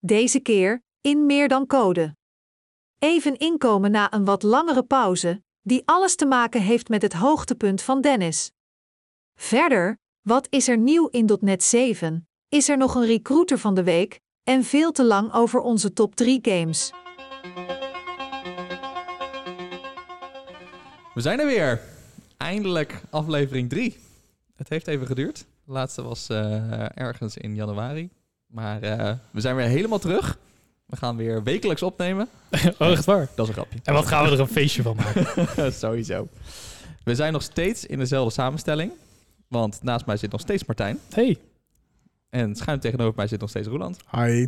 Deze keer in meer dan code. Even inkomen na een wat langere pauze, die alles te maken heeft met het hoogtepunt van Dennis. Verder, wat is er nieuw in .NET 7? Is er nog een recruiter van de week? En veel te lang over onze top 3 games. We zijn er weer. Eindelijk aflevering 3. Het heeft even geduurd. De laatste was eh, ergens in januari. Maar eh, we zijn weer helemaal terug. We gaan weer wekelijks opnemen. Oh, echt waar? Dat is een grapje. En wat gaan we er een feestje van maken? Sowieso. We zijn nog steeds in dezelfde samenstelling. Want naast mij zit nog steeds Martijn. Hey, En schuin tegenover mij zit nog steeds Roland. Hi.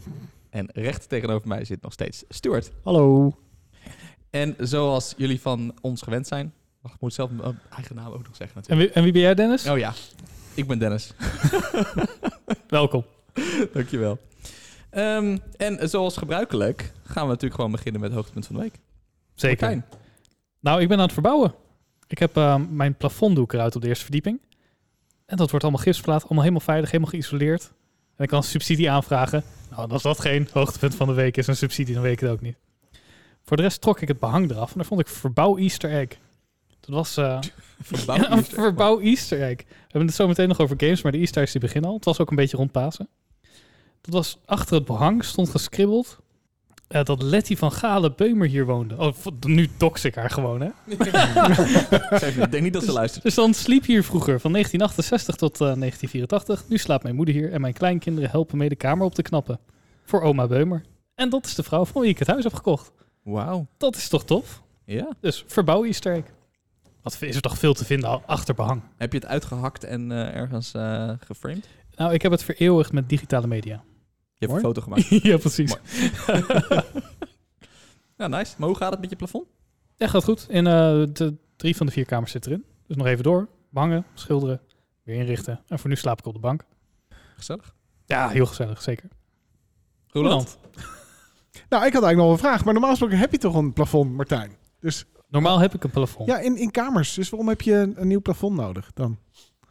En recht tegenover mij zit nog steeds Stuart. hallo. En zoals jullie van ons gewend zijn... Wacht, ik moet zelf mijn eigen naam ook nog zeggen En natuurlijk. wie, en wie ben jij, Dennis? Oh ja, ik ben Dennis. Welkom. Dankjewel. Ehm en zoals gebruikelijk gaan we natuurlijk gewoon beginnen met het hoogtepunt van de week. Zeker. Martijn. Nou, ik ben aan het verbouwen. Ik heb eh, mijn plafonddoek eruit op de eerste verdieping. En dat wordt allemaal gipsplaat, allemaal helemaal veilig, helemaal geïsoleerd. En ik kan subsidie aanvragen. Nou, als dat geen hoogtepunt van de week is, een subsidie, dan weet ik het ook niet. Voor de rest trok ik het behang eraf en daar vond ik verbouw Easter egg. Dat was eh, Verbouw Ja, een Easter. verbouw Easter egg. We hebben het zo meteen nog over games, maar de Easter eggs die beginnen al. Het was ook een beetje rond Pasen. Dat was achter het behang, stond gescribbeld. eh, dat Letty van Gale Beumer hier woonde. Oh, v- nu dox ik haar gewoon, hè? Geef niet, Ik denk niet dat ze luistert. Dus dan sliep hier vroeger van 1968 tot eh, 1984. Nu slaapt mijn moeder hier en mijn kleinkinderen helpen mee de kamer op te knappen. Voor oma Beumer. En dat is de vrouw van wie ik het huis heb gekocht. Wauw. Dat is toch tof? Ja. Dus verbouw Easter egg. Wat is er toch veel te vinden al achter behang? Heb je het uitgehakt en eh, ergens eh, geframed? Nou, ik heb het vereeuwigd met digitale media. Je hebt Mooi. een foto gemaakt. ja, precies. Ja, nice. Maar hoe gaat het met je plafond? Ja, gaat goed. En eh, de drie van de vier kamers zitten erin. Dus nog even door. Behangen, schilderen, weer inrichten. En voor nu slaap ik op de bank. Gezellig. Ja, heel gezellig, zeker. Roland? Nou, ik had eigenlijk nog een vraag, maar normaal gesproken heb je toch een plafond, Martijn? Dus Normaal heb ik een plafond. ja, in, in kamers. Dus waarom heb je een, een nieuw plafond nodig dan?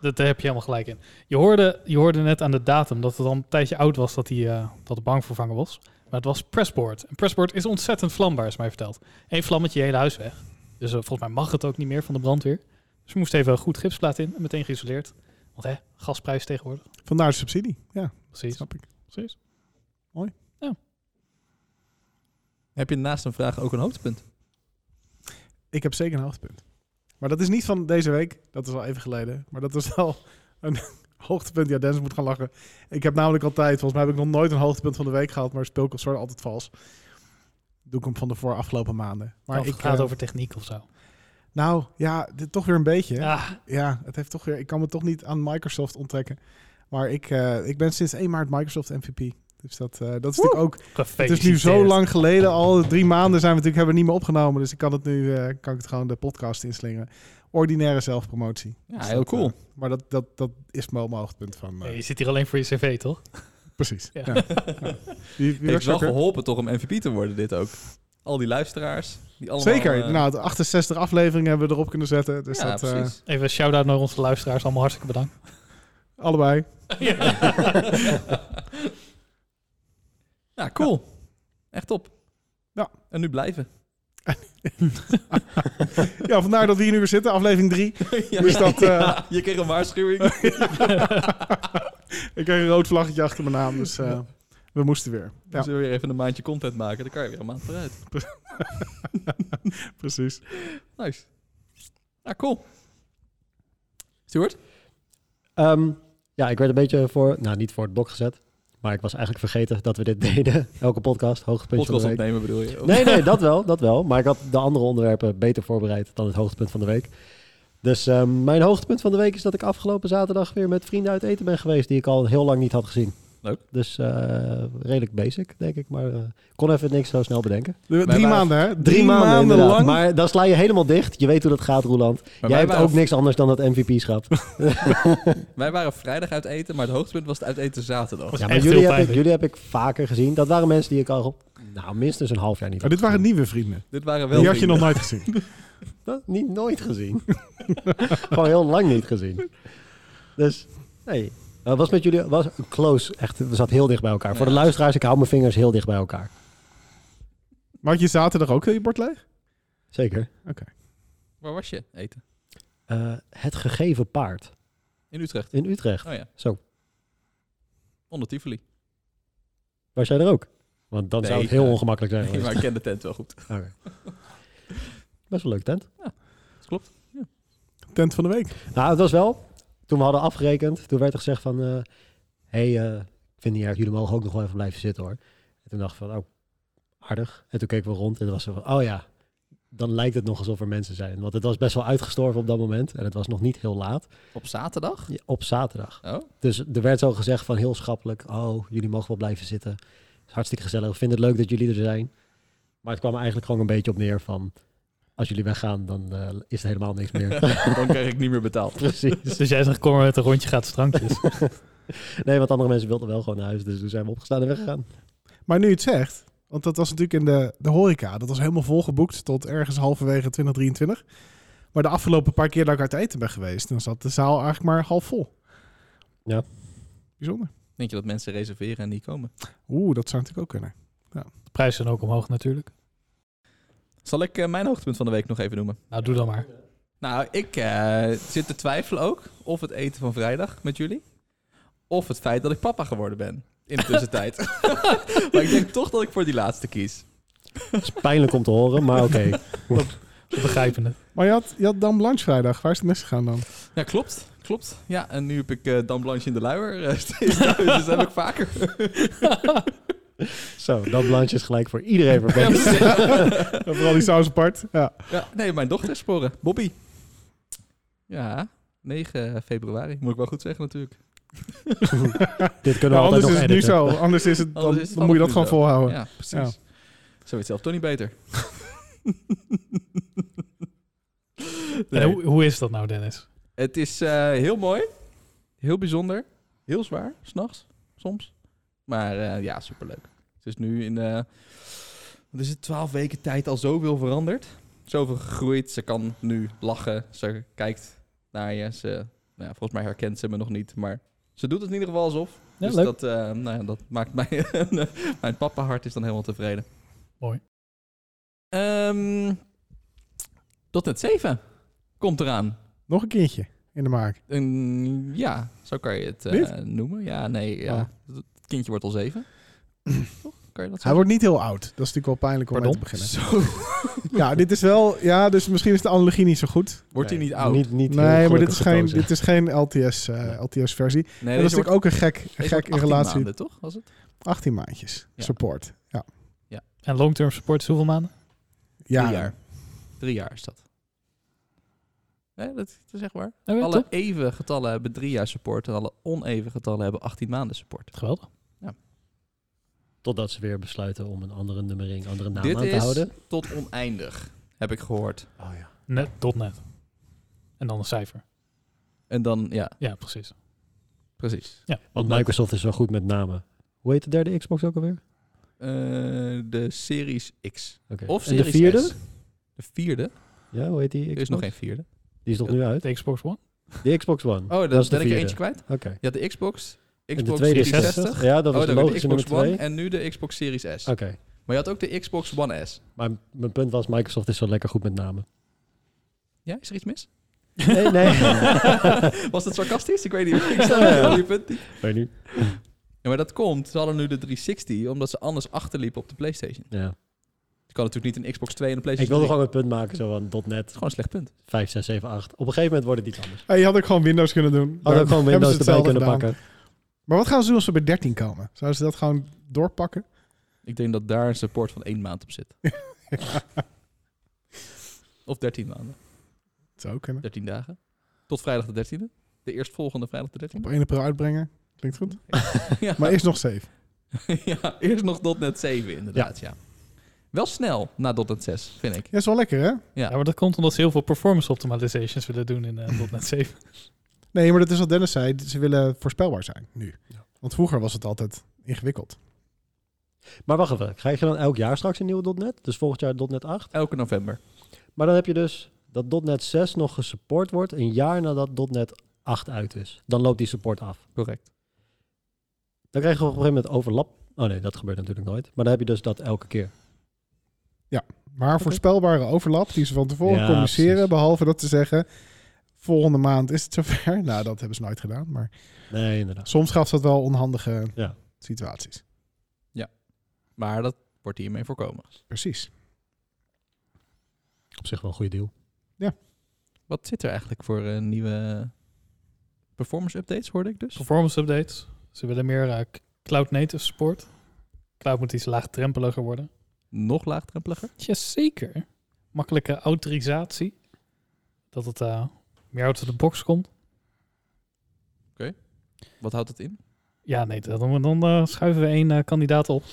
Dat, daar heb je helemaal gelijk in. Je hoorde, je hoorde net aan de datum dat het al een tijdje oud was dat, die, eh, dat de bank vervangen was. Maar het was pressboard. En pressboard is ontzettend vlambaar, is mij verteld. Eén vlammetje, je hele huis weg. Dus eh, volgens mij mag het ook niet meer van de brandweer. Dus we moesten even goed gipsplaat in en meteen geïsoleerd. Want hè, gasprijs tegenwoordig. Vandaar de subsidie. Ja, Precies. snap ik. Precies. Heb je naast een vraag ook een hoogtepunt? Ik heb zeker een hoogtepunt. Maar dat is niet van deze week. Dat is al even geleden. Maar dat is wel een hoogtepunt. Ja, Dennis moet gaan lachen. Ik heb namelijk altijd, volgens mij heb ik nog nooit een hoogtepunt van de week gehad, maar speelconsort altijd vals. Doe ik hem van de voor afgelopen maanden. Maar Maar ik ik ga het eh, over techniek of zo. Nou, ja, dit, toch weer een beetje. hè? Ja, Ja, het heeft toch weer, ik kan me toch niet aan Microsoft onttrekken. Maar ik, eh, ik ben sinds 1 maart Microsoft MVP. Dus dat, eh, dat is natuurlijk ook. Het is nu zo lang geleden, al drie maanden zijn we natuurlijk hebben we niet meer opgenomen. Dus ik kan het nu eh, kan ik het gewoon de podcast inslingen. Ordinaire zelfpromotie. Ja, Dus heel dat, cool. eh, maar dat, dat, dat is wel mijn hoogtepunt van. eh, Nee, je zit hier alleen voor je cv, toch? Precies. Ja. Ja. Ja. Wie- wie eh, heeft was wel er? geholpen toch om MVP te worden, dit ook. Al die luisteraars. Die allemaal, Zeker. eh, nou, de 68 afleveringen hebben we erop kunnen zetten. Dus ja, dat eh, precies. Even een shout-out naar onze luisteraars. Allemaal hartstikke bedankt. allebei. ja, cool. Echt top. Ja. En nu blijven. Ja, vandaar dat we hier nu weer zitten, aflevering 3. Dus dat, eh, Ja, je kreeg een waarschuwing. Ik kreeg een rood vlaggetje achter mijn naam, dus eh, we moesten weer. Dus, We Ja, zullen weer even een maandje content maken. Dan kan je weer een maand vooruit. precies. Nice. Ja, cool. Stuart? Ehm, ja, ik werd een beetje voor, nou niet voor het blok gezet, maar ik was eigenlijk vergeten dat we dit deden. Elke podcast, hoogtepuntje Podcast van de week. opnemen bedoel je? Nee, nee, dat wel, dat wel. Maar ik had de andere onderwerpen beter voorbereid dan het hoogtepunt van de week. Dus ehm, mijn hoogtepunt van de week is dat ik afgelopen zaterdag weer met vrienden uit eten ben geweest die ik al heel lang niet had gezien. Leuk. Dus eh, redelijk basic, denk ik. Maar eh, kon even niks zo snel bedenken. eh, Drie waren- maanden, hè? Drie, inderdaad. lang. Maar dan sla je helemaal dicht. Je weet hoe dat gaat, Roeland. Maar Jij wij, hebt waren, ook niks anders dan dat MVP-schap. wij waren vrijdag uit eten, maar het hoogtepunt was het uit eten zaterdag. Was Ja, maar echt jullie heel heb, ik, pijnlijk. jullie heb ik vaker gezien. Dat waren mensen die ik al nou, minstens een half jaar niet Maar had Oh, dit waren gezien. nieuwe vrienden. Dit waren wel Die had je nog vrienden. nooit gezien. Huh? niet nooit gezien. Gewoon heel lang niet gezien. Dus nee, Eh, was met jullie was close, echt. We zaten heel dicht bij elkaar. Voor de luisteraars, ik hou mijn vingers heel dicht bij elkaar. Maar had je zaterdag ook heel je bord leeg? Zeker. Waar was je eten? Eh, het gegeven paard In Utrecht. in Utrecht. Oh ja, Zo, onder Tivoli. was jij er ook? Want dan zou Nee, het heel eh, ongemakkelijk zijn. Nee, geweest. maar ik ken de tent wel goed. Oké. Best wel leuk tent. Tent van de week. Nou, het was wel. Toen we hadden afgerekend, toen werd er gezegd van... eh, hey, eh, ik vind het niet erg, jullie mogen ook nog wel even blijven zitten hoor. En toen dacht ik van, oh, aardig. En toen keken we rond en toen was ze van, oh ja, dan lijkt het nog alsof er mensen zijn. Want het was best wel uitgestorven op dat moment en het was nog niet heel laat. Op zaterdag? Ja, Op zaterdag. Oh, Dus er werd zo gezegd van heel schappelijk, oh, jullie mogen wel blijven zitten. Het is hartstikke gezellig, we vinden het leuk dat jullie er zijn. Maar het kwam er eigenlijk gewoon een beetje op neer van, als jullie weggaan, dan eh, is er helemaal niks meer. dan krijg ik niet meer betaald. Precies. Dus jij zegt, kom maar met een rondje gaat strankjes. Nee, want andere mensen wilden wel gewoon naar huis. Dus toen zijn we opgestaan en weggegaan. Maar nu je het zegt, want dat was natuurlijk in de, de horeca. Dat was helemaal volgeboekt tot ergens halverwege 2023. Maar de afgelopen paar keer dat ik uit eten ben geweest, dan zat de zaal eigenlijk maar half vol. Ja. Bijzonder. Denk je dat mensen reserveren en niet komen? Oeh, dat zou natuurlijk ook kunnen. De prijzen zijn ook omhoog natuurlijk. Zal ik eh, mijn hoogtepunt van de week nog even noemen? Nou, doe dan maar. Nou, ik eh, zit te twijfelen ook of het eten van vrijdag met jullie. Of het feit dat ik papa geworden ben in de tussentijd. maar ik denk toch dat ik voor die laatste kies. Dat is pijnlijk om te horen, maar oké. We begrijpen het. Maar je had, je had dan lunch vrijdag. Waar is het misgegaan dan? Ja, klopt. Klopt. Ja, en nu heb ik eh Dame Blanche in de luier. eh, steeds thuis, dus dat heb ik vaker. Zo, dat blansje is gelijk voor iedereen verpest. Vooral die saus apart. Ja. Ja, nee, mijn dochter is sporen. Bobby. Ja, 9 februari. Moet ik wel goed zeggen natuurlijk. Dit Ja, kunnen we altijd anders nog is het nu editen. zo. Anders is het, dan, Anders is het dan moet je dat allemaal gewoon nu volhouden. Ja, precies. Zo weet zelf toch niet beter. En hoe, hoe is dat nou, Dennis? Het is eh, heel mooi. Heel bijzonder. Heel zwaar, s'nachts, soms. Maar eh, ja, superleuk. Het is nu in, eh wat is het, twaalf weken tijd al zoveel veranderd. Zoveel gegroeid. Ze kan nu lachen. Ze kijkt naar je. Ze, nou ja, volgens mij herkent ze me nog niet, maar ze doet het in ieder geval alsof. Ja, dus leuk. dat, eh, nou ja, dat maakt mij... mijn papa-hart is dan helemaal tevreden. Mooi. Ehm tot net zeven komt eraan. Nog een kindje in de maak. Een- ja, zo kan je het eh, Niet? Oh. noemen. Ja, nee, ja. Het kindje wordt al zeven. Toch? Kan je dat Hij zeggen? wordt niet heel oud. Dat is natuurlijk wel pijnlijk om mee Pardon? te beginnen. Zo. Ja, dit is wel... Ja, dus misschien is de analogie niet zo goed. Wordt hij niet Nee, oud? Niet, niet heel nee, maar dit gelukkig is geen, gekozen. dit is geen LTS, eh, LTS-versie. Nee, en dat is deze wordt- natuurlijk ook een gek, een deze wordt gek in 18 relatie. maanden, toch? Was het? 18 maandjes. Ja. Support. Ja. En long-term support is hoeveel maanden? Ja, Drie jaar. Drie jaar is dat. Nee, dat, dat is echt waar. Nou, ja, Alle top. even getallen hebben drie jaar support. En alle oneven getallen hebben 18 maanden support. Geweldig. Totdat ze weer besluiten om een andere nummering, andere Nou, naam Dit aan te is houden. tot oneindig, heb ik gehoord. Oh ja. Net, tot net. En dan een cijfer. En dan, ja, Ja, precies. precies. Ja. Want Microsoft is zo goed met namen. Hoe heet de derde Xbox ook alweer? Eh, de Series X. Oké. Of en de Series vierde? S. De vierde? Ja, hoe heet die Xbox? Er is nog geen vierde. Die is nog nu uit. De Xbox One? De Xbox One. Oh, Dat dan is de ben ik er vierde. eentje kwijt. Oké. Ja, de Xbox, En de Xbox tweede is 360. Ja, dat was oh, de dan weer de logische Xbox nummer One twee. en nu de Xbox Series S. Oké. Maar je had ook de Xbox One S. Maar mijn punt was, Microsoft is zo lekker goed met namen. Ja, is er iets mis? Nee, nee. Was dat sarcastisch? Ik weet niet. Ik snap het wel, je punt niet. Weet nu. Ja, maar dat komt, ze hadden nu de 360, omdat ze anders achterliepen op de PlayStation. Ja. Je kan natuurlijk niet een Xbox 2 en een Ik PlayStation wilde 3. gewoon het punt maken, zo van .NET Dat is gewoon een slecht punt. 5, 6, 7, 8. Op een gegeven moment wordt het iets anders. En je had ook gewoon Windows kunnen doen. Hadden we ook gewoon Daar hebben Windows ze erbij hetzelfde kunnen gedaan. pakken. Maar wat gaan ze doen als ze bij 13 komen? Zouden ze dat gewoon doorpakken? Ik denk dat daar een support van één maand op zit. Of 13 maanden. Dat zou ook kunnen. 13 dagen. Tot vrijdag de 13e. De eerstvolgende vrijdag de 13e. Op 1 april uitbrengen. Klinkt goed. Ja. Maar is nog safe. ja, eerst nog .NET 7 inderdaad, ja. Wel snel na .NET 6, vind ik. Ja, is wel lekker, hè? Ja. Ja, maar dat komt omdat ze heel veel performance optimizations willen doen in eh, .NET 7. Nee, maar dat is wat Dennis zei. Ze willen voorspelbaar zijn nu. Ja. Want vroeger was het altijd ingewikkeld. Maar wacht even. Krijg je dan elk jaar straks een nieuwe .NET? Dus volgend jaar .NET 8. Elke november. Maar dan heb je dus dat .NET 6 nog gesupport wordt een jaar nadat .NET 8 uit is. Dan loopt die support af. Correct. Dan krijgen we op een gegeven moment overlap. Oh nee, dat gebeurt natuurlijk nooit. Maar dan heb je dus dat elke keer. Maar voorspelbare overlap die ze van tevoren Ja, communiceren, precies. behalve dat te zeggen, volgende maand is het zover. Nou, dat hebben ze nooit gedaan, maar Nee, inderdaad. soms gaf ze dat wel onhandige Ja. situaties. Maar dat wordt hiermee voorkomen. Precies. Op zich wel een goede deal. Wat zit er eigenlijk voor eh, nieuwe performance updates, hoorde ik dus? Performance updates. Ze willen meer eh, k- cloud native support. Cloud moet iets laagdrempeliger worden. Nog laagdrempeliger? Jazeker. Makkelijke autorisatie. Dat het eh, meer uit de box komt. Wat houdt dat in? Ja, nee, dan, dan eh, schuiven we één eh, kandidaat op.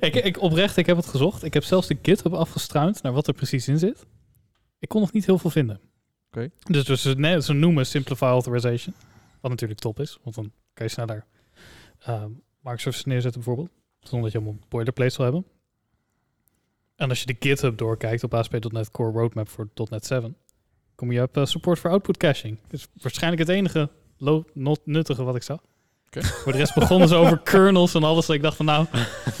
ik, ik, oprecht, ik heb het gezocht. Ik heb zelfs de GitHub afgestruind naar wat er precies in zit. Ik kon nog niet heel veel vinden. Oké. Dus, dus ze, nee, ze noemen Simplify Authorization. Wat natuurlijk top is, want dan kan je sneller eh microservices neerzetten bijvoorbeeld. Zonder dat je allemaal boilerplate zal hebben. En als je de GitHub doorkijkt op ASP.NET Core Roadmap voor .NET 7, kom je op eh, support voor output caching. Dat is waarschijnlijk het enige lo- not nuttige wat ik zag. Oké. Voor de rest begonnen ze over kernels en alles. En ik dacht van nou,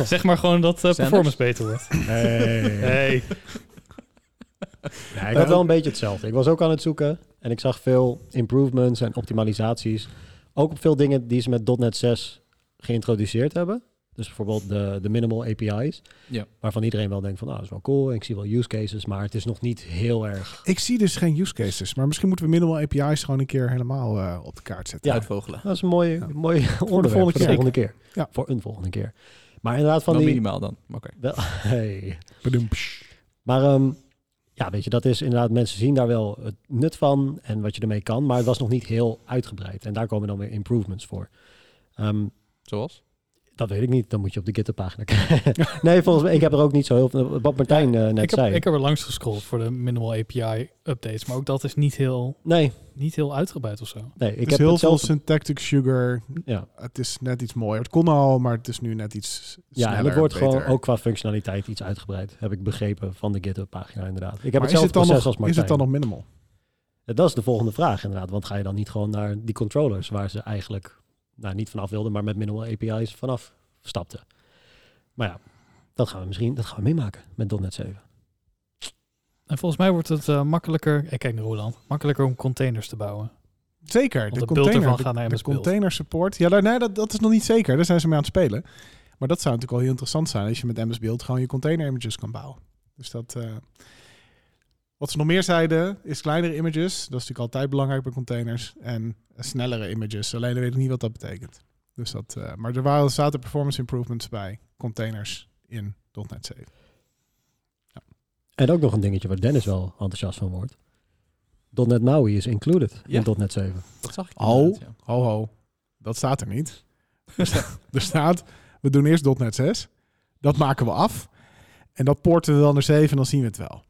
zeg maar gewoon dat eh, performance beter wordt. Nee. Hey. Ja, ik had wel een beetje hetzelfde. Ik was ook aan het zoeken en ik zag veel improvements en optimalisaties. Ook op veel dingen die ze met .NET 6 geïntroduceerd hebben. Dus bijvoorbeeld de, de minimal API's. Ja. Waarvan iedereen wel denkt van, ah, dat is wel cool. En ik zie wel use cases, maar het is nog niet heel erg... Ik zie dus geen use cases, maar misschien moeten we minimal API's gewoon een keer helemaal eh, op de kaart zetten. Ja. Uitvogelen. Dat is een mooie, Ja. mooie onderwerp voor de volgende volgende keer. keer. Ja. Voor een volgende keer. Maar inderdaad van Wel die... minimaal dan. maar Oké. Wel, hey. Bedoemps. Maar ehm, ja, weet je, dat is inderdaad, mensen zien daar wel het nut van en wat je ermee kan, maar het was nog niet heel uitgebreid. En daar komen dan weer improvements voor. Ehm, Zoals? dat weet ik niet, dan moet je op de GitHub pagina kijken. nee, volgens mij, ik heb er ook niet zo heel veel, wat Martijn eh, net Ik heb, zei. ik heb er langs gescrolld voor de minimal API updates. Maar ook dat is niet heel, nee, niet heel uitgebreid of zo. nee, ik Het is heb heel veel hetzelfde. syntactic sugar. Ja. Het is net iets mooier. Het kon al, maar het is nu net iets Ja, en sneller, het wordt beter. gewoon ook qua functionaliteit iets uitgebreid, heb ik begrepen van de GitHub pagina inderdaad. Ik heb Maar is hetzelfde het, dan proces nog, als Martijn. is het dan nog minimal? Dat is de volgende vraag inderdaad. Want ga je dan niet gewoon naar die controllers waar ze eigenlijk nou, niet vanaf wilden, maar met minimal API's vanaf stapten? Maar ja, dat gaan we misschien dat gaan we meemaken met .NET 7. En volgens mij wordt het eh, makkelijker, ik kijk naar Roland, makkelijker om containers te bouwen. Zeker. Want de de beeld container, ervan de, gaat naar de MS Build. container support. Ja, daar, nee, dat, dat is nog niet zeker. Daar zijn ze mee aan het spelen. Maar dat zou natuurlijk wel heel interessant zijn als je met MS Build gewoon je container images kan bouwen. Dus dat. eh, wat ze nog meer zeiden, is kleinere images. Dat is natuurlijk altijd belangrijk bij containers. En eh, snellere images. Alleen weet ik niet wat dat betekent. Dus dat, eh, maar er waren, zaten performance improvements bij containers in .NET 7. En ook nog een dingetje waar Dennis wel enthousiast van wordt. .NET MAUI is included Ja. in .NET 7. Dat zag ik Oh. inderdaad, ja. Ho, ho. Dat staat er niet. Er sta- er staat, we doen eerst .NET 6. Dat maken we af. En dat porten we dan naar 7 en dan zien we het wel.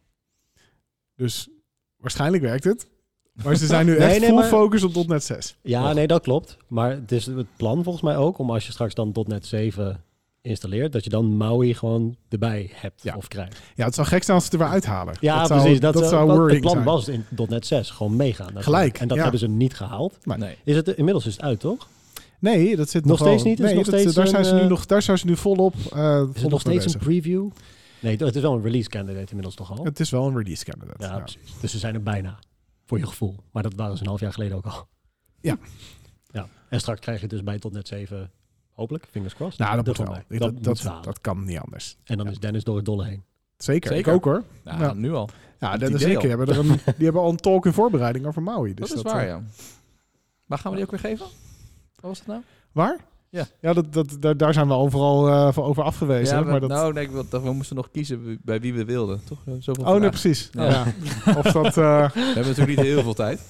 Dus waarschijnlijk werkt het. Maar ze zijn nu Nee, echt nee, full maar- focus op .NET 6. Ja, nee, dat klopt. Maar het is het plan volgens mij ook om als je straks dan .NET 7 installeert, dat je dan MAUI gewoon erbij hebt Ja. of krijgt. Ja, het zou gek zijn als ze het er weer uithalen. Ja, zou, precies. Dat, dat eh, zou dat- worrying Het plan zijn. was in .NET 6 gewoon meegaan. natuurlijk. Gelijk, En dat ja. hebben ze niet gehaald. Nee. Is het, inmiddels is het uit, toch? Nee, dat zit Nog wel- steeds niet? Is Nee, nog dat- steeds daar, zijn ze een, nu eh, nog, daar zijn ze nu volop, eh Is het volop nog mee steeds een bezig. preview? Nee, het is wel een release candidate inmiddels toch al? Het is wel een release candidate. Ja, ja. precies. Dus ze zijn er bijna, voor je gevoel. Maar dat waren ze een half jaar geleden ook al. Ja. ja. En straks krijg je dus bij tot net 7, hopelijk, fingers crossed. Nou, dat er moet gewoon wel. bij. Dat, Dat, moet dat, ze halen. dat, kan niet anders. En dan ja. is Dennis door het dolle heen. Zeker, Zeker. ik ook hoor. Nou, Ja. nu al. Ja, Het dat is idee zeker. Die al. hebben, er een, die hebben al een talk in voorbereiding over Maui. Dus dat is waar, eh, ja. Waar gaan we die ook weer geven? Wat was dat nou? Waar? Ja. Ja, dat, dat, daar, daar zijn we overal eh, van over afgewezen. Ja, maar dat... Nou, nee, ik wil- dat- we moesten nog kiezen wie- bij wie we wilden. Toch? Eh, Zoveel oh, nee, vragen. precies. Ja. Ja. Of dat... eh, We hebben natuurlijk niet heel veel tijd.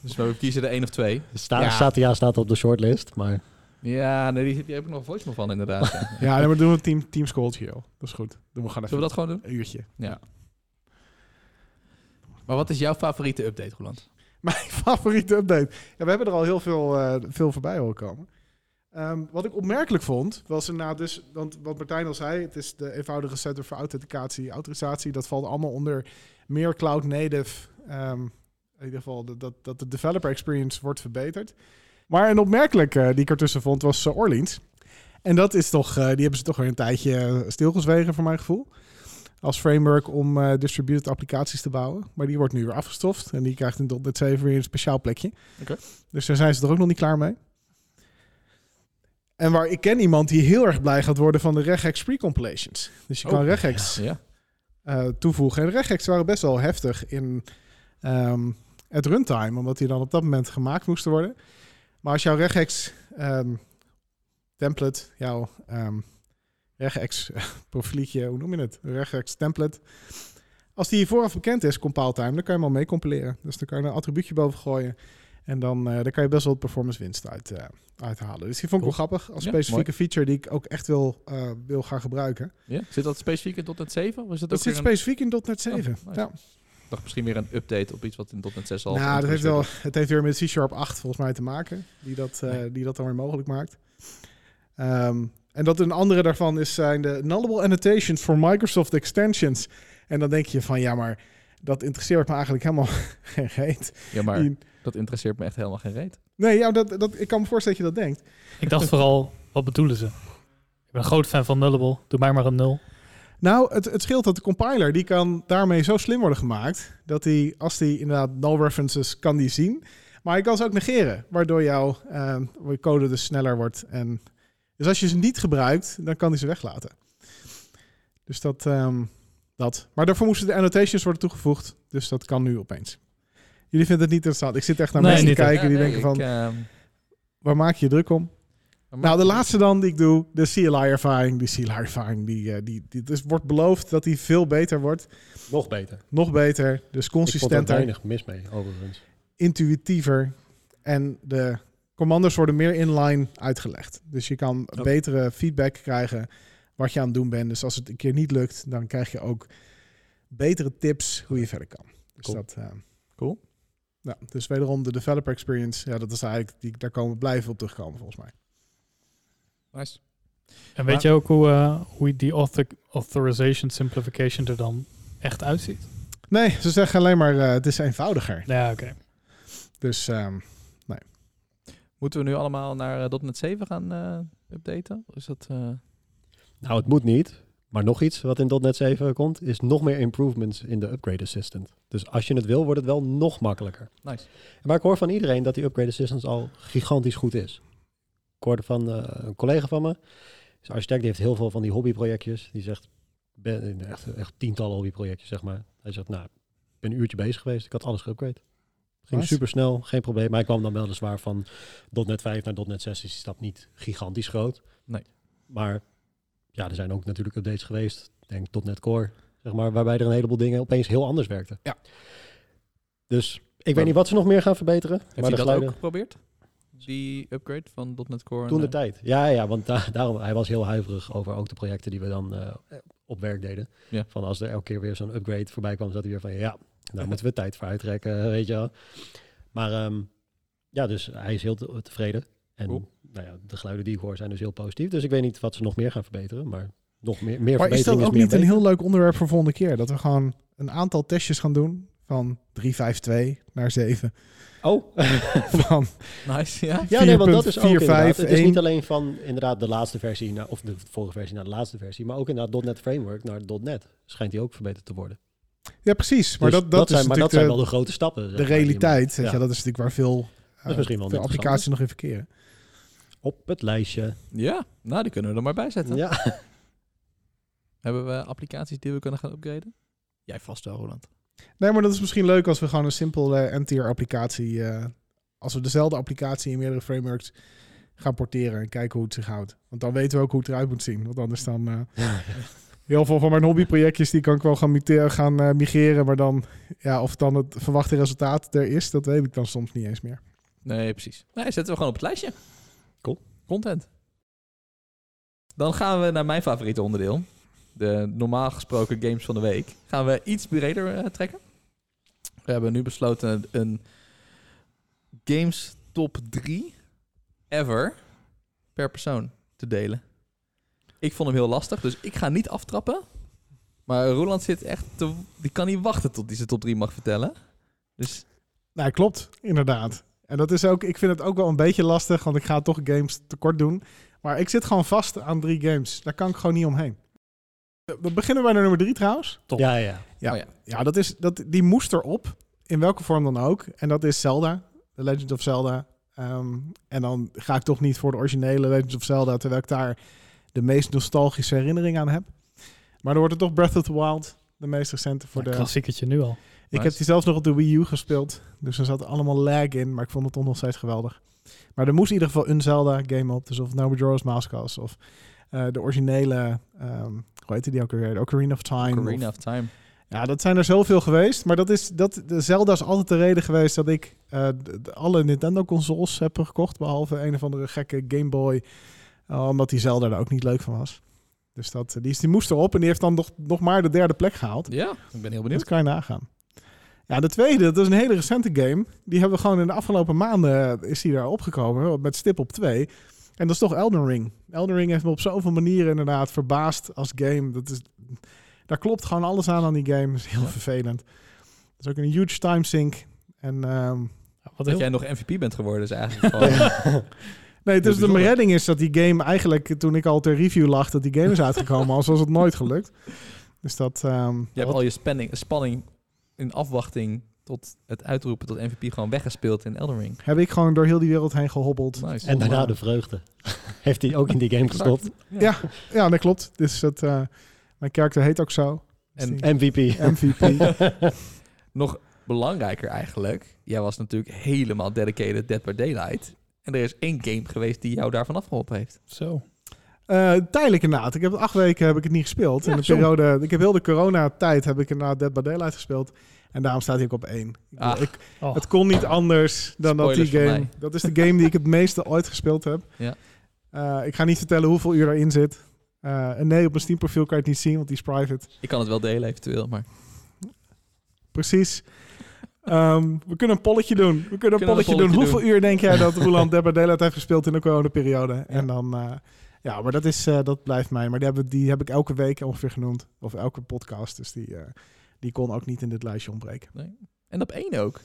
Dus we kiezen er één of twee. Sta, Ja. Satya staat op de shortlist, maar Ja, nee, die, die heb ik nog een voicemail van inderdaad. ja. ja, nee, maar doen we team, team Scoldje, joh. Dat is goed. Doen we gewoon even Zullen we dat gewoon doen? een uurtje. Maar wat is jouw favoriete update, Roland? Mijn favoriete update. Ja, we hebben er al heel veel, eh, veel voorbij horen komen. Ehm, wat ik opmerkelijk vond, was inderdaad dus... Want wat Martijn al zei, het is de eenvoudige setup voor authenticatie, autorisatie. Dat valt allemaal onder meer cloud native. ehm, in ieder geval dat, dat, dat de developer experience wordt verbeterd. Maar een opmerkelijk eh, die ik ertussen vond was eh, Orleans. En dat is toch, eh, die hebben ze toch weer een tijdje eh, stilgezwegen voor mijn gevoel. Als framework om eh, distributed applicaties te bouwen. Maar die wordt nu weer afgestoft. En die krijgt in .NET 7 weer een speciaal plekje. Oké. Dus daar zijn ze er ook nog niet klaar mee. En waar ik ken iemand die heel erg blij gaat worden van de regex pre-compilations. Dus je Oh, kan regex Ja. eh, toevoegen. En de regex waren best wel heftig in ehm, het runtime, omdat die dan op dat moment gemaakt moesten worden. Maar als jouw regex ehm, template, jouw ehm regex profieltje, hoe noem je het? Regex template. Als die vooraf bekend is, compile time, dan kan je hem al mee compileren. Dus dan kan je een attribuutje boven gooien. En dan eh, daar kan je best wel performance winst uit, eh, uithalen. Dus die vond ik wel grappig. Als Ja, specifieke feature die ik ook echt wil, eh, wil gaan gebruiken. ja. Zit dat specifiek in .NET 7? Of is dat, Dat ook zit weer een... specifiek in .NET 7. Oh, nice. ja. Ik dacht misschien weer een update op iets wat in .NET 6 al... Nou, dat geïntroduceerd heeft wel, was. het heeft weer met C-Sharp 8 volgens mij te maken, die dat, eh, die dat dan weer mogelijk maakt. Ehm, en dat een andere daarvan is, zijn de nullable annotations voor Microsoft extensions. En dan denk je van, ja, maar dat interesseert me eigenlijk helemaal geen reet. Ja, maar Die- dat interesseert me echt helemaal geen reet. Nee, ja, dat, dat, ik kan me voorstellen dat je dat denkt. Ik dacht vooral, wat bedoelen ze? Ik ben een groot fan van Nullable. Doe mij maar een nul. Nou, het, het scheelt dat de compiler, die kan daarmee zo slim worden gemaakt, dat hij, als hij inderdaad null references kan die zien, maar hij kan ze ook negeren, waardoor jouw eh, code dus sneller wordt. En, dus als je ze niet gebruikt, dan kan hij ze weglaten. Dus dat, ehm, dat. Maar daarvoor moesten de annotations worden toegevoegd, dus dat kan nu opeens. Jullie vinden het niet interessant. Ik zit echt naar Nee, mensen te niet echt. kijken die Ja, nee, denken van, ik, ehm, waar maak je je druk om? maar- Nou, de laatste dan die ik doe, de CLI-ervaring. Die CLI-ervaring, die, eh, die, die dus wordt beloofd dat die veel beter wordt. Nog beter. Nog beter, dus Ik vond er consistenter, weinig mis mee, overigens. intuïtiever. En de commanders worden meer inline uitgelegd. Dus je kan betere feedback krijgen wat je aan het doen bent. Dus als het een keer niet lukt, dan krijg je ook betere tips hoe je verder kan. Dus Cool. dat... eh, Cool. Ja, dus wederom de developer experience. Ja, dat is eigenlijk, die, daar komen we blijven op terugkomen volgens mij. Nice. En weet Maar- je ook hoe, eh, hoe die author authorization simplification er dan echt uitziet? Nee, ze zeggen alleen maar eh, het is eenvoudiger. Nou Ja, oké. Dus ehm, Moeten we nu allemaal naar eh, .NET 7 gaan eh, updaten? Is dat... eh, Nou, het moet niet. Maar nog iets wat in .NET 7 komt, is nog meer improvements in de Upgrade Assistant. Dus als je het wil, wordt het wel nog makkelijker. Nice. Maar ik hoor van iedereen dat die Upgrade Assistant al gigantisch goed is. Ik hoorde van eh, een collega van me, is architect, die heeft heel veel van die hobbyprojectjes. Die zegt, ben, echt, echt tientallen hobbyprojectjes zeg maar. Hij zegt, nou, ik ben een uurtje bezig geweest, ik had alles geupgrade. Ging Nice. super snel, geen probleem. Maar hij kwam dan weliswaar van .NET 5 naar .NET 6 is die stap niet gigantisch groot. Nee. Maar ja, er zijn ook natuurlijk updates geweest. Denk tot net core, zeg maar, waarbij er een heleboel dingen opeens heel anders werkten. Ja. Dus ik Maar- weet niet wat ze nog meer gaan verbeteren. Heeft de hij dat geluiden- ook geprobeerd? Die upgrade van .NET Core? Toen de en, eh, tijd. Ja, ja, want da- daarom, hij was heel huiverig over ook de projecten die we dan eh, op werk deden. Ja. Van als er elke keer weer zo'n upgrade voorbij kwam, zat hij weer van ja, daar moeten we tijd voor uittrekken, weet je wel. Maar ehm, ja, dus hij is heel te- tevreden. En Cool. nou ja, de geluiden die ik hoor zijn dus heel positief. Dus ik weet niet wat ze nog meer gaan verbeteren, maar nog meer, meer Maar is dat verbetering ook meer niet een beter. heel leuk onderwerp voor volgende keer? Dat we gewoon een aantal testjes gaan doen. Van 352 naar 7. Oh, Van, Nice, ja. ja, nee, want dat is ook 4.45, inderdaad. Het is één. niet alleen van inderdaad de laatste versie, naar, of de vorige versie naar de laatste versie, maar ook inderdaad .NET Framework naar .NET schijnt die ook verbeterd te worden. ja, precies. Maar Dus dat, dat, is zijn, maar natuurlijk dat zijn wel de, de grote stappen. zeg de maar, die je realiteit. maakt. weet je, Ja. dat is natuurlijk waar veel, eh, is misschien wel veel interessant. applicaties nog in verkeren. Op het lijstje. Ja, nou die kunnen we er maar bij zetten. Ja. Hebben we applicaties die we kunnen gaan upgraden? Jij vast wel, Roland. Nee, maar dat is misschien leuk als we gewoon een simpel eh, end-tier applicatie... eh, als we dezelfde applicatie in meerdere frameworks gaan porteren en kijken hoe het zich houdt. Want dan weten we ook hoe het eruit moet zien. Want anders dan... eh, heel veel van mijn hobbyprojectjes die kan ik wel gaan, mute- gaan eh, migreren. Maar dan, ja, of dan het verwachte resultaat er is, dat weet ik dan soms niet eens meer. Nee, precies. Nee, zetten we gewoon op het lijstje. Cool. Content. Dan gaan we naar mijn favoriete onderdeel. De normaal gesproken games van de week. Gaan we iets breder eh, trekken. We hebben nu besloten een games top 3 ever per persoon te delen. Ik vond hem heel lastig, dus ik ga niet aftrappen. Maar Roland zit echt te, die kan niet wachten tot hij zijn top 3 mag vertellen. Dus Nou, klopt, inderdaad. En dat is ook, ik vind het ook wel een beetje lastig, want ik ga toch games tekort doen. Maar ik zit gewoon vast aan drie games. Daar kan ik gewoon niet omheen. We beginnen bij de nummer drie trouwens. Top. Ja, ja. Ja, Oh ja. ja. dat is, dat, die moest erop. In welke vorm dan ook. En dat is Zelda. The Legend of Zelda. Ehm, en dan ga ik toch niet voor de originele Legend of Zelda. Terwijl ik daar de meest nostalgische herinnering aan heb. Maar dan wordt het toch Breath of the Wild. De meest recente voor Voor de... klassiekertje nu al. Ik Nice. heb die zelfs nog op de Wii U gespeeld. Dus er zat allemaal lag in. Maar ik vond het toch nog steeds geweldig. Maar er moest in ieder geval een Zelda game op. Dus of nou Majora's Mask was. Of eh, de originele... ehm hoe heette die ook weer? De Ocarina of Time. of- Ocarina of Time. ja, dat zijn er zoveel geweest. Maar dat is, dat, de Zelda is altijd de reden geweest dat ik eh, de- de- alle Nintendo-consoles heb gekocht. Behalve een of andere gekke Game Boy. eh, omdat die Zelda er ook niet leuk van was. Dus dat, die, is, die moest erop en die heeft dan nog, nog maar de derde plek gehaald. Ja, ik ben heel Dat benieuwd. kan je nagaan. Ja, de tweede, dat is een hele recente game. Die hebben we gewoon in de afgelopen maanden eh, is die daar opgekomen. Met stip op twee. En dat is toch Elden Ring. Elden Ring heeft me op zoveel manieren inderdaad verbaasd als game. Dat is, daar klopt gewoon alles aan aan die game. Dat is heel vervelend. Dat is ook een huge time sink. En ehm, Wat Dat heel jij nog MVP bent geworden is eigenlijk gewoon... nee, dus de bijzonder. redding is dat die game eigenlijk, toen ik al ter review lag, dat die game is uitgekomen. als was het nooit gelukt. Dus dat, ehm, Je hebt al je spanning, spanning in afwachting tot het uitroepen tot MVP gewoon weggespeeld in Elden Ring. heb ik gewoon door heel die wereld heen gehobbeld. Nice. En daarna de vreugde. Heeft hij ook in die game gestopt. Ja. Ja, dat klopt. Dus dat, eh, mijn karakter heet ook zo. Dus En die MVP. MVP. nog belangrijker eigenlijk, jij was natuurlijk helemaal dedicated Dead by Daylight. En er is één game geweest die jou daarvan afgeholpen heeft. Zo. Eh, tijdelijk inderdaad. Ik heb acht weken heb ik het niet gespeeld. Ja, in de zo. periode, ik heb heel de coronatijd heb ik inderdaad Dead by Daylight gespeeld. En daarom staat hij ook op één. Ik bedoel, Ah. ik, Oh. Het kon niet anders dan dat die Spoilers van game. mij. Dat is de game die ik het meeste ooit gespeeld heb. Ja. Eh, ik ga niet vertellen hoeveel uur daarin zit. Eh, en nee, op mijn Steam profiel kan je het niet zien, want die is private. Ik kan het wel delen eventueel, maar... Precies. Ehm, we kunnen een polletje doen. We kunnen een een polletje doen. polletje Hoeveel uur denk jij dat Roland Dead by Daylight heeft gespeeld in de coronaperiode? En dan... eh, ja, maar dat, is, eh, dat blijft mij. Maar die heb, die heb ik elke week ongeveer genoemd. Of elke podcast. Dus die, eh, die kon ook niet in dit lijstje ontbreken. En op één ook.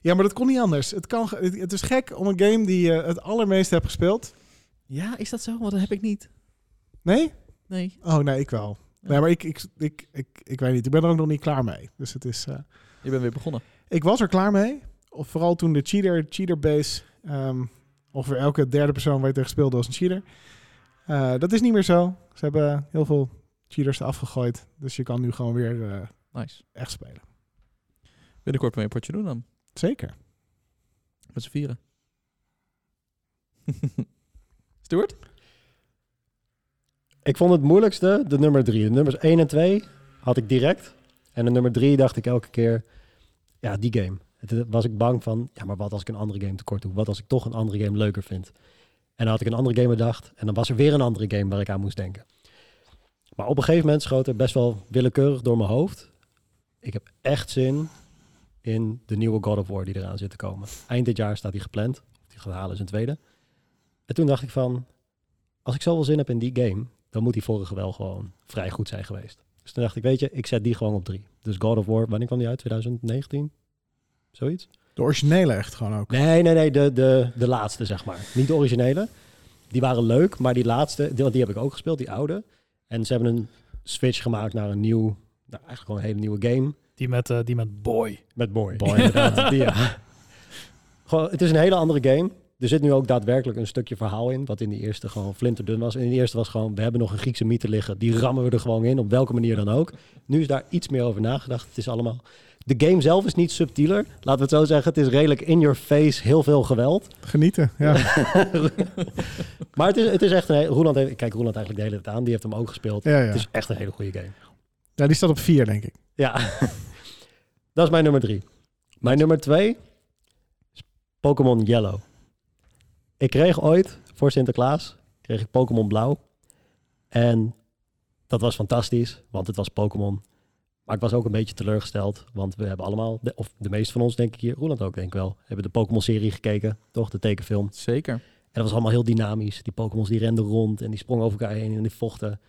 Ja, maar dat kon niet anders. Het, kan, ge- het, het is gek om een game die je het allermeest hebt gespeeld. Ja, is dat zo? Want dat heb ik niet. Nee? Nee. Oh, nee, ik wel. Ja. Nee, maar ik, ik, ik, ik, ik weet niet. Ik ben er ook nog niet klaar mee. Dus het is... eh, Je bent weer begonnen. Ik was er klaar mee. Of vooral toen de cheater, cheater base. ehm ongeveer elke derde persoon waar je tegen speelde was een cheater. Eh, dat is niet meer zo. Ze hebben heel veel cheaters eraf gegooid. Dus je kan nu gewoon weer eh, Nice. echt spelen. Binnenkort weer een potje doen dan. Zeker. Met z'n vieren. Stuart? Ik vond het moeilijkste de nummer drie. De nummers 1 en 2 had ik direct. En de nummer 3 dacht ik elke keer, ja, die game. Het was ik bang van, ja, maar wat als ik een andere game tekort doe? Wat als ik toch een andere game leuker vind? En dan had ik een andere game bedacht. En dan was er weer een andere game waar ik aan moest denken. Maar op een gegeven moment schoot er best wel willekeurig door mijn hoofd. Ik heb echt zin in de nieuwe God of War die eraan zit te komen. Eind dit jaar staat die gepland. Of die gaat halen is een tweede. En toen dacht ik van, als ik zoveel zin heb in die game, dan moet die vorige wel gewoon vrij goed zijn geweest. Dus toen dacht ik, weet je, ik zet die gewoon op drie. Dus God of War, wanneer kwam die uit? 2019? Zoiets? De originele echt gewoon ook. Nee, nee, nee, de, de, de laatste zeg maar. Niet de originele. Die waren leuk, maar die laatste, die, want die heb ik ook gespeeld, die oude. En ze hebben een switch gemaakt naar een nieuw, nou, eigenlijk gewoon een hele nieuwe game. Die met, eh, die met Boy. Met Boy. Boy, inderdaad. Die, ja. gewoon, het is een hele andere game. Er zit nu ook daadwerkelijk een stukje verhaal in, wat in die eerste gewoon flinterdun was. En in die eerste was gewoon, we hebben nog een Griekse mythe liggen, die rammen we er gewoon in, op welke manier dan ook. Nu is daar iets meer over nagedacht. Het is allemaal... De game zelf is niet subtieler, laten we het zo zeggen. Het is redelijk in your face, heel veel geweld. Genieten. Ja. maar het is, het is echt een... hele- Roeland heeft, ik kijk Roeland eigenlijk de hele tijd aan, die heeft hem ook gespeeld. Ja, ja. Het is echt een hele goede game. ja, die staat op vier, denk ik. Ja, dat is mijn nummer drie. Mijn nummer twee is Pokémon Yellow. Ik kreeg ooit voor Sinterklaas kreeg ik Pokémon Blauw. En dat was fantastisch, want het was Pokémon. Maar ik was ook een beetje teleurgesteld, want we hebben allemaal, de- of de meeste van ons denk ik hier, Roland ook denk ik wel, hebben de Pokémon-serie gekeken, toch? De tekenfilm. Zeker. En dat was allemaal heel dynamisch. Die Pokémons die renden rond en die sprongen over elkaar heen en die vochten.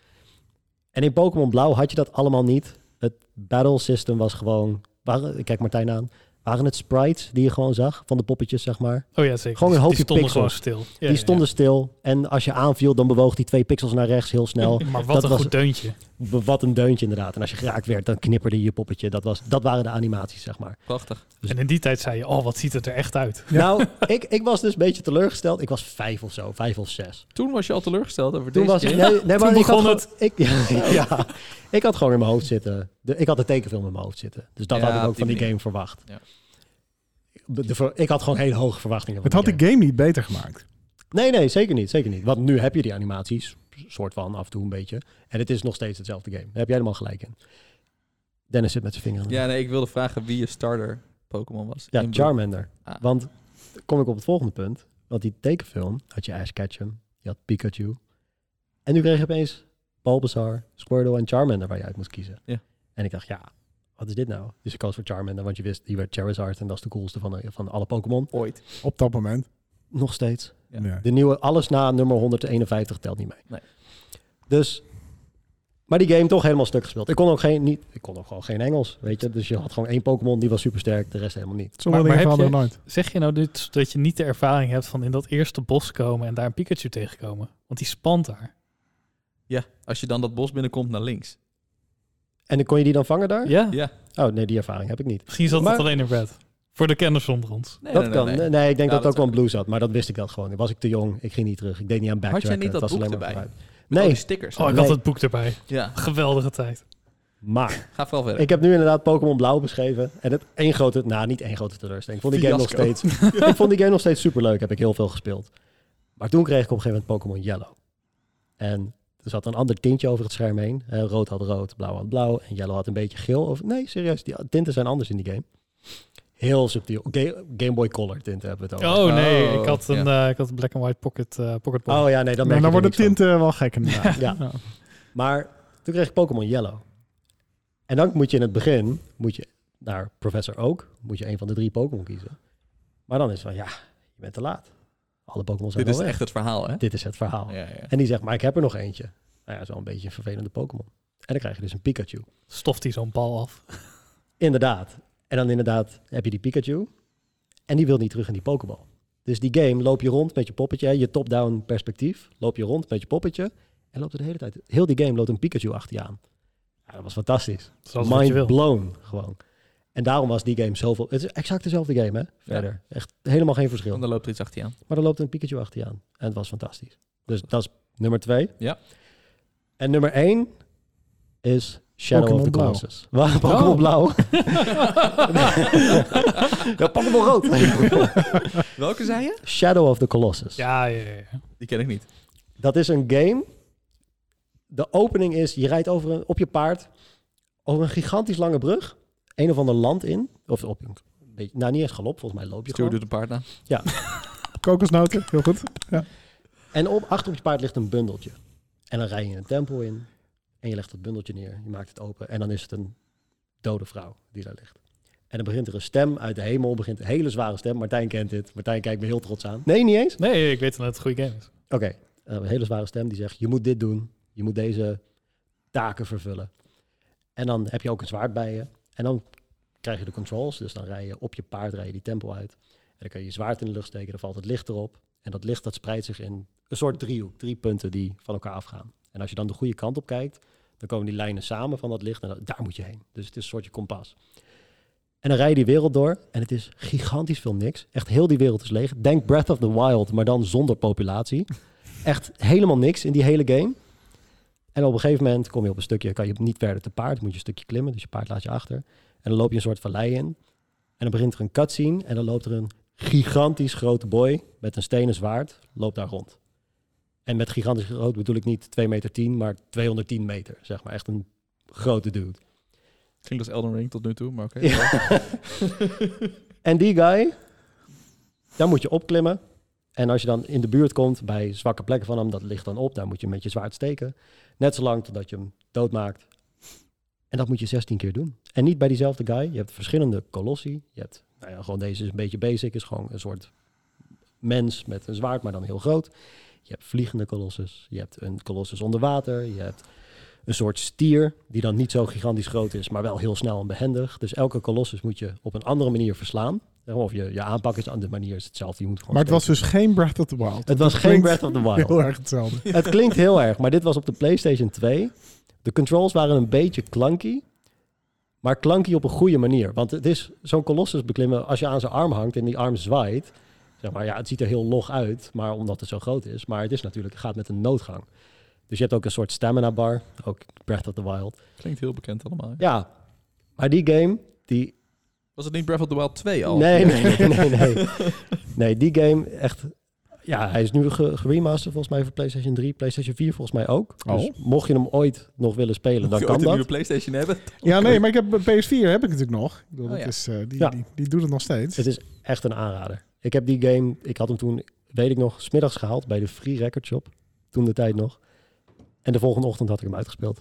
En in Pokémon Blauw had je dat allemaal niet. Het battle system was gewoon... waren- ik kijk Martijn aan. Waren het sprites die je gewoon zag van de poppetjes, zeg maar? Oh ja, zeker. Gewoon een Die- hoopje Die stonden gewoon pixels. stil. Ja, die ja, stonden stil en als je aanviel, dan bewoog die twee pixels naar rechts heel snel. ja. Maar wat Dat een was- goed deuntje. B- Wat een deuntje inderdaad. En als je geraakt werd, dan knipperde je poppetje. Dat, was, dat waren de animaties, zeg maar. Prachtig. Dus En in die tijd zei je, oh, wat ziet het er echt uit. Nou, ik, ik was dus een beetje teleurgesteld. Ik was vijf of zo, vijf of zes. Toen was je al teleurgesteld over Toen deze was ik, game. nee, nee, maar ik had, begon gewoon- Ik, ja, ik had gewoon in mijn hoofd zitten. De, ik had de tekenfilm in mijn hoofd zitten. Dus dat Ja, had ik op ook die van die manier. game verwacht. Ja. De, de ver- ik had gewoon hele hoge verwachtingen. van Het had die de game niet beter gemaakt. Nee, nee, zeker niet, zeker niet. Want nu heb je die animaties, soort van, af en toe een beetje. En het is nog steeds hetzelfde game. Daar heb jij helemaal gelijk in. Dennis zit met zijn vinger aan de- Ja, nee, ik wilde vragen wie je starter Pokémon was. Ja, In Blue. Charmander. Ah. Want kom ik op het volgende punt. Want die tekenfilm had je Ash Ketchum, je had Pikachu. En nu kreeg je opeens Bulbasaur, Squirtle en Charmander waar je uit moest kiezen. Ja. En ik dacht, ja, wat is dit nou? Dus ik koos voor Charmander, want je wist, die werd Charizard en dat is de coolste van, de- van alle Pokémon. Ooit. Op dat moment. Nog steeds. Ja. Ja. De nieuwe, alles na nummer 151 telt niet mee. Nee. Dus, maar die game toch helemaal stuk gespeeld. Ik kon ook, geen, niet, ik kon ook gewoon geen Engels, weet je. Dus je had gewoon één Pokémon, die was super sterk, de rest helemaal niet. Sommige Maar- dingen maar heb veranderen nooit. Zeg je nou dit, dat je niet de ervaring hebt van in dat eerste bos komen en daar een Pikachu tegenkomen? Want die spant daar. Ja, als je dan dat bos binnenkomt naar links. En dan kon je die dan vangen daar? Ja, Ja, Oh, nee, die ervaring heb ik niet. misschien zat Maar- dat alleen in Red. Voor de kenners onder ons. Oh, nee, dat nee, nee, kan. nee. Nee, nee, ik denk Ja, dat het ook dat wel een blue zat, maar dat wist ik dat gewoon. Dan was ik te jong, ik ging niet terug. Ik deed niet aan jij backtracken. niet dat het was boek alleen maar erbij? vooruit. Met al die Nee, stickers. Oh, ik Nee. had het boek erbij. Ja, Geweldige tijd. maar ga vooral verder. ik heb nu inderdaad Pokémon Blauw beschreven. En het één grote, nou niet één grote teleurstelling. Ik vond die game nog steeds, Fiasco. ik vond die game nog steeds superleuk. Heb ik heel veel gespeeld. Maar toen kreeg ik op een gegeven moment Pokémon Yellow. En er zat een ander tintje over het scherm heen. Eh, rood had rood, blauw had blauw en yellow had een beetje geel. Of, nee, serieus, die tinten zijn anders in die game. Heel subtiel. Ga- Game Boy Color tinten hebben we het over. Oh nee, Oh, ik had een eh, ik had een black and white pocket, eh pocket ball. Oh ja, nee, dan merk Nou, je dan er worden niks van. tinten wel gek inderdaad. Ja. Ja. Maar toen kreeg ik Pokémon Yellow. En dan moet je in het begin, moet je naar Professor Oak, moet je een van de drie Pokémon kiezen. Maar dan is het van, ja, je bent te laat. Alle Pokémon zijn Dit is al weg. echt het verhaal, hè? Dit is het verhaal. Ja, ja. En die zegt, maar ik heb er nog eentje. Nou ja, dat is wel een beetje een vervelende Pokémon. En dan krijg je dus een Pikachu. Stoft hij zo'n bal af. Inderdaad. En dan inderdaad heb je die Pikachu. En die wil niet terug in die Pokéball. Dus die game loop je rond met je poppetje. hè, Je top-down perspectief. Loop je rond met je poppetje. En loopt er de hele tijd. Heel die game loopt een Pikachu achter je aan. Ja, dat was fantastisch. Zoals wat je Mind wil. blown gewoon. En daarom was die game zoveel... Het is exact dezelfde game, hè? Verder. Echt helemaal geen verschil. Want dan loopt er iets achter je aan. Maar er loopt een Pikachu achter je aan. En het was fantastisch. Dus dat is nummer twee. Ja. En nummer één is Shadow Pokémon of the Blauw. Colossus. Waar Pokémon Oh. Blauw? ja, Pokémon Rood. Welke zei je? Shadow of the Colossus. Ja, ja, ja, ja. Die ken ik niet. Dat is een game. De opening is, je rijdt over een, op je paard over een gigantisch lange brug. Een of ander land in. Of op een beetje, nou niet eens galop, volgens mij loop je Stuur gewoon. doet een paard na. Kokosnoten, heel goed. En op, achter op je paard ligt een bundeltje. En dan rij je een tempel in. En je legt dat bundeltje neer. Je maakt het open. En dan is het een dode vrouw die daar ligt. En dan begint er een stem uit de hemel. Begint een hele zware stem. Martijn kent dit. Martijn kijkt me heel trots aan. Nee, niet eens. Nee, ik weet wel dat het een goede game is. Oké. eh, een hele zware stem die zegt: Je moet dit doen. Je moet deze taken vervullen. En dan heb je ook een zwaard bij je. En dan krijg je de controls. Dus dan rij je op je paard rij je die tempel uit. En dan kan je je zwaard in de lucht steken. Dan valt het licht erop. En dat licht dat spreidt zich in een soort driehoek. Drie punten die van elkaar afgaan. En als je dan de goede kant op kijkt, dan komen die lijnen samen van dat licht. En dan- daar moet je heen. Dus het is een soortje kompas. En dan rij je die wereld door. En het is gigantisch veel niks. Echt heel die wereld is leeg. Denk Breath of the Wild, maar dan zonder populatie. Echt helemaal niks in die hele game. En op een gegeven moment kom je op een stukje, kan je niet verder te paard, moet je een stukje klimmen, dus je paard laat je achter. En dan loop je een soort vallei in. En dan begint er een cutscene en dan loopt er een gigantisch grote boy met een stenen zwaard, loopt daar rond. En met gigantisch groot bedoel ik niet 2 meter 10, maar 210 meter, zeg maar. Echt een grote dude. Klinkt als Elden Ring tot nu toe, maar oké. Ja. en die guy, daar moet je opklimmen. En als je dan in de buurt komt bij zwakke plekken van hem, dat ligt dan op. Daar moet je met je zwaard steken. Net zolang totdat je hem doodmaakt. En dat moet je 16 keer doen. En niet bij diezelfde guy. Je hebt verschillende kolossi. Je hebt, nou ja, gewoon deze is een beetje basic. Is gewoon een soort mens met een zwaard, maar dan heel groot. Je hebt vliegende kolossus. Je hebt een kolossus onder water. Je hebt een soort stier, die dan niet zo gigantisch groot is, maar wel heel snel en behendig. Dus elke kolossus moet je op een andere manier verslaan. Zeg maar, Of je, je aanpak is, de manier is hetzelfde. Je moet gewoon Maar het was steken. dus geen Breath of the Wild. het was geen klinkt Breath of the Wild. Heel erg hetzelfde. Het klinkt heel erg, maar dit was op de PlayStation 2. De controls waren een beetje clunky, maar clunky op een goede manier. Want het is zo'n kolossus beklimmen, als je aan zijn arm hangt en die arm zwaait, zeg maar, ja, het ziet er heel log uit, maar omdat het zo groot is. Maar het is natuurlijk, het gaat met een noodgang. Dus je hebt ook een soort stamina bar, ook Breath of the Wild. Klinkt heel bekend allemaal. hè? Ja, maar die game, die Was het niet Breath of the Wild 2 al? Nee, nee, nee, nee, nee. Nee, die game echt... Ja, hij is nu ge- geremasterd volgens mij voor PlayStation 3, PlayStation 4 volgens mij ook. Dus Oh. mocht je hem ooit nog willen spelen, Moet dan je kan ooit een dat. nieuwe PlayStation hebben? Ja, nee, maar ik heb eh, PS4 heb ik natuurlijk nog. Ik bedoel, Oh, dat ja. is, eh, die, Ja. die, die doet het nog steeds. Het is echt een aanrader. Ik heb die game, ik had hem toen, weet ik nog, smiddags gehaald bij de Free Record Shop. Toen de tijd nog. En de volgende ochtend had ik hem uitgespeeld.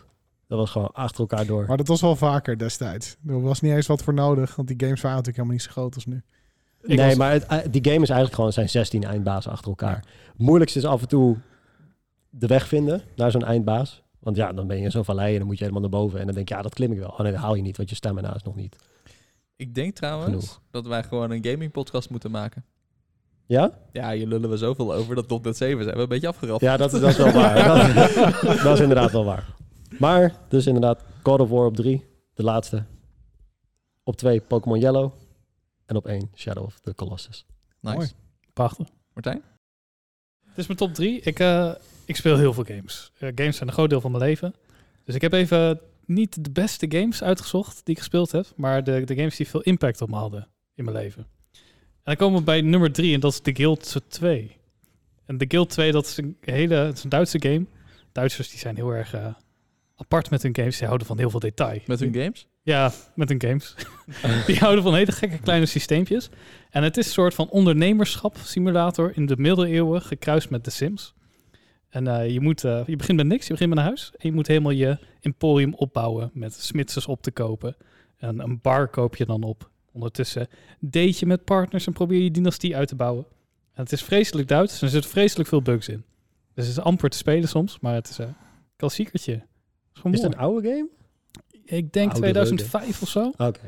Dat was gewoon achter elkaar door. Maar dat was wel vaker destijds. Er was niet eens wat voor nodig, want die games waren natuurlijk helemaal niet zo groot als nu. Ik nee, was- maar het- eh, die game is eigenlijk gewoon zijn 16 eindbazen achter elkaar. Het moeilijkste is af en toe de weg vinden naar zo'n eindbaas. Want ja, dan ben je in zo'n vallei en dan moet je helemaal naar boven. En dan denk je, ja, dat klim ik wel. Oh nee, dat haal je niet, want je stamina is nog niet. Ik denk trouwens Genoeg. dat wij gewoon een gaming podcast moeten maken. Ja? Ja, hier lullen we zoveel over dat tot net 7 zijn we een beetje afgerapt. Ja, dat is, dat is wel waar. dat, dat is inderdaad wel waar. Maar, dus inderdaad, God of War op drie, de laatste. Op twee, Pokémon Yellow. En op één, Shadow of the Colossus. Nice. Mooi. Prachtig. Martijn? Dit is mijn top 3. Ik, eh, ik speel heel veel games. Eh, games zijn een groot deel van mijn leven. Dus ik heb even niet de beste games uitgezocht die ik gespeeld heb, maar de, de games die veel impact op me hadden in mijn leven. En dan komen we bij nummer 3 en dat is The Guild 2. En The Guild 2, dat is een hele het is een Duitse game. Duitsers die zijn heel erg eh, apart met hun games. Die houden van heel veel detail. Met hun games? Ja, met hun games. die houden van hele gekke kleine systeempjes. En het is een soort van ondernemerschap simulator in de middeleeuwen, gekruist met de Sims. En eh, je, moet, eh, je begint met niks, je begint met een huis. En je moet helemaal je emporium opbouwen met smitsers op te kopen. En een bar koop je dan op. Ondertussen date je met partners en probeer je dynastie uit te bouwen. En het is vreselijk Duits en er zitten vreselijk veel bugs in. Dus het is amper te spelen soms, maar het is eh, een klassiekertje. Het is gewoon Is het mooi. een oude game? Ik denk Oude leuke. 2005 of zo. Nou, Oké.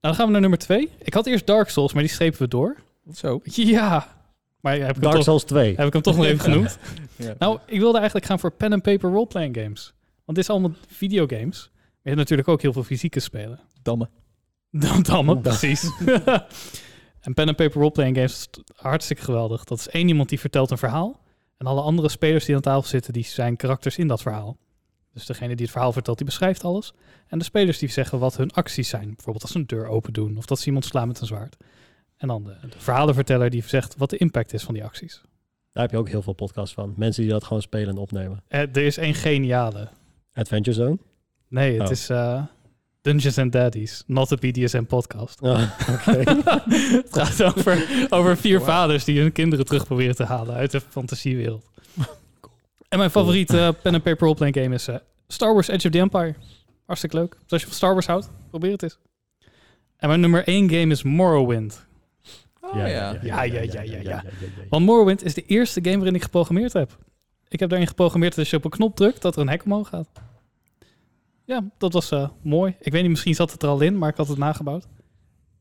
dan gaan we naar nummer 2. Ik had eerst Dark Souls, maar die strepen we door. Zo. Ja, maar heb ik, hem Dark toch, Souls 2. heb ik hem toch nog even genoemd. Ja. Nou, ik wilde eigenlijk gaan voor pen and paper roleplaying games. Want dit is allemaal videogames. Maar je hebt natuurlijk ook heel veel fysieke spelen. Damme. Dan dammen, Ja. precies. en pen and paper roleplaying games is hartstikke geweldig. Dat is één iemand die vertelt een verhaal. En alle andere spelers die aan tafel zitten, die zijn karakters in dat verhaal. Dus degene die het verhaal vertelt, die beschrijft alles. En de spelers die zeggen wat hun acties zijn. Bijvoorbeeld als ze een deur open doen of dat ze iemand slaan met een zwaard. En dan de, de verhalenverteller die zegt wat de impact is van die acties. Daar heb je ook heel veel podcasts van. Mensen die dat gewoon spelen en opnemen. Eh, er is één geniale. Adventure Zone. Nee, het Oh. is eh, Dungeons and Daddies, not a BDSM podcast. Ah, oké. het gaat over, over vier Wow. vaders die hun kinderen terug proberen te halen uit de fantasiewereld. En mijn favoriete eh, pen and paper roleplaying game is eh, Star Wars Edge of the Empire. Hartstikke leuk. Dus als je van Star Wars houdt, probeer het eens. En mijn nummer één game is Morrowind. Oh ja. Ja, ja, ja, ja, ja. Want Morrowind is de eerste game waarin ik geprogrammeerd heb. Ik heb daarin geprogrammeerd dat als je op een knop drukt, dat er een hek omhoog gaat. Ja, dat was eh, mooi. Ik weet niet, misschien zat het er al in, maar ik had het nagebouwd.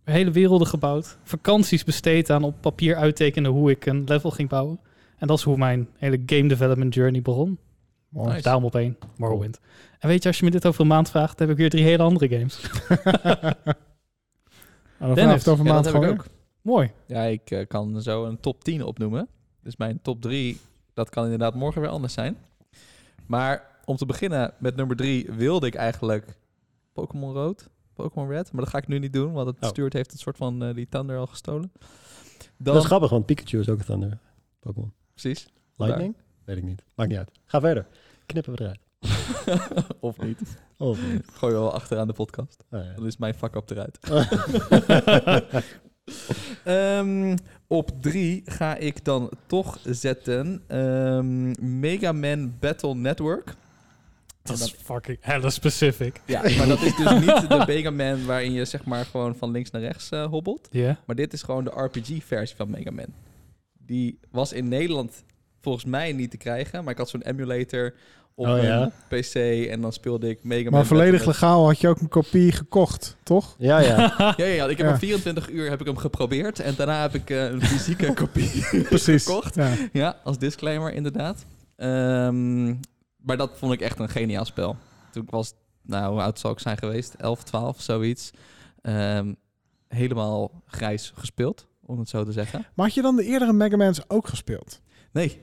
Hele werelden gebouwd. Vakanties besteed aan op papier uittekenen hoe ik een level ging bouwen. En dat is hoe mijn hele game development journey begon. Mooi. Nice. Daarom op één, Morrowind. En weet je, als je me dit over een maand vraagt, heb ik weer drie hele andere games. En Nou, dan Dennis, vanaf het over Ja, dat maand heb ik gewoon. ook. mooi. Ja, ik eh, kan zo een top 10 opnoemen. Dus mijn top 3, dat kan inderdaad morgen weer anders zijn. Maar om te beginnen met nummer 3 wilde ik eigenlijk Pokémon Rood, Pokémon Red. Maar dat ga ik nu niet doen, want het Oh. stuurt heeft een soort van eh, die Thunder al gestolen. Dan, Dat is grappig, want Pikachu is ook een Thunder Pokémon. precies. Lightning? Weet ik niet. Maakt niet uit. Ga verder. Knippen we eruit. of niet. Of niet. Gooi wel achteraan de podcast. Oh, ja. Dan is mijn fuck-up eruit. Ehm, op 3 ga ik dan toch zetten ehm Mega Man Battle Network. Dat is fucking hella specific. Ja, maar dat is dus niet de Mega Man waarin je zeg maar gewoon van links naar rechts eh, hobbelt. Ja. Maar dit is gewoon de RPG-versie van Mega Man. Die was in Nederland volgens mij niet te krijgen. Maar ik had zo'n emulator op Oh, mijn ja. PC en dan speelde ik Mega Man. Maar volledig Battle Net- legaal had je ook een kopie gekocht, toch? Ja, ja. Ja, ja, ja, ik heb Ja. hem 24 uur heb ik hem geprobeerd en daarna heb ik eh, een fysieke kopie Precies. gekocht. Ja. Ja, als disclaimer inderdaad. Ehm, maar dat vond ik echt een geniaal spel. Toen ik was, nou hoe oud zou ik zijn geweest? 11, 12, zoiets. Ehm, helemaal grijs gespeeld, om het zo te zeggen. Maar had je dan de eerdere Mega Man's ook gespeeld? Nee,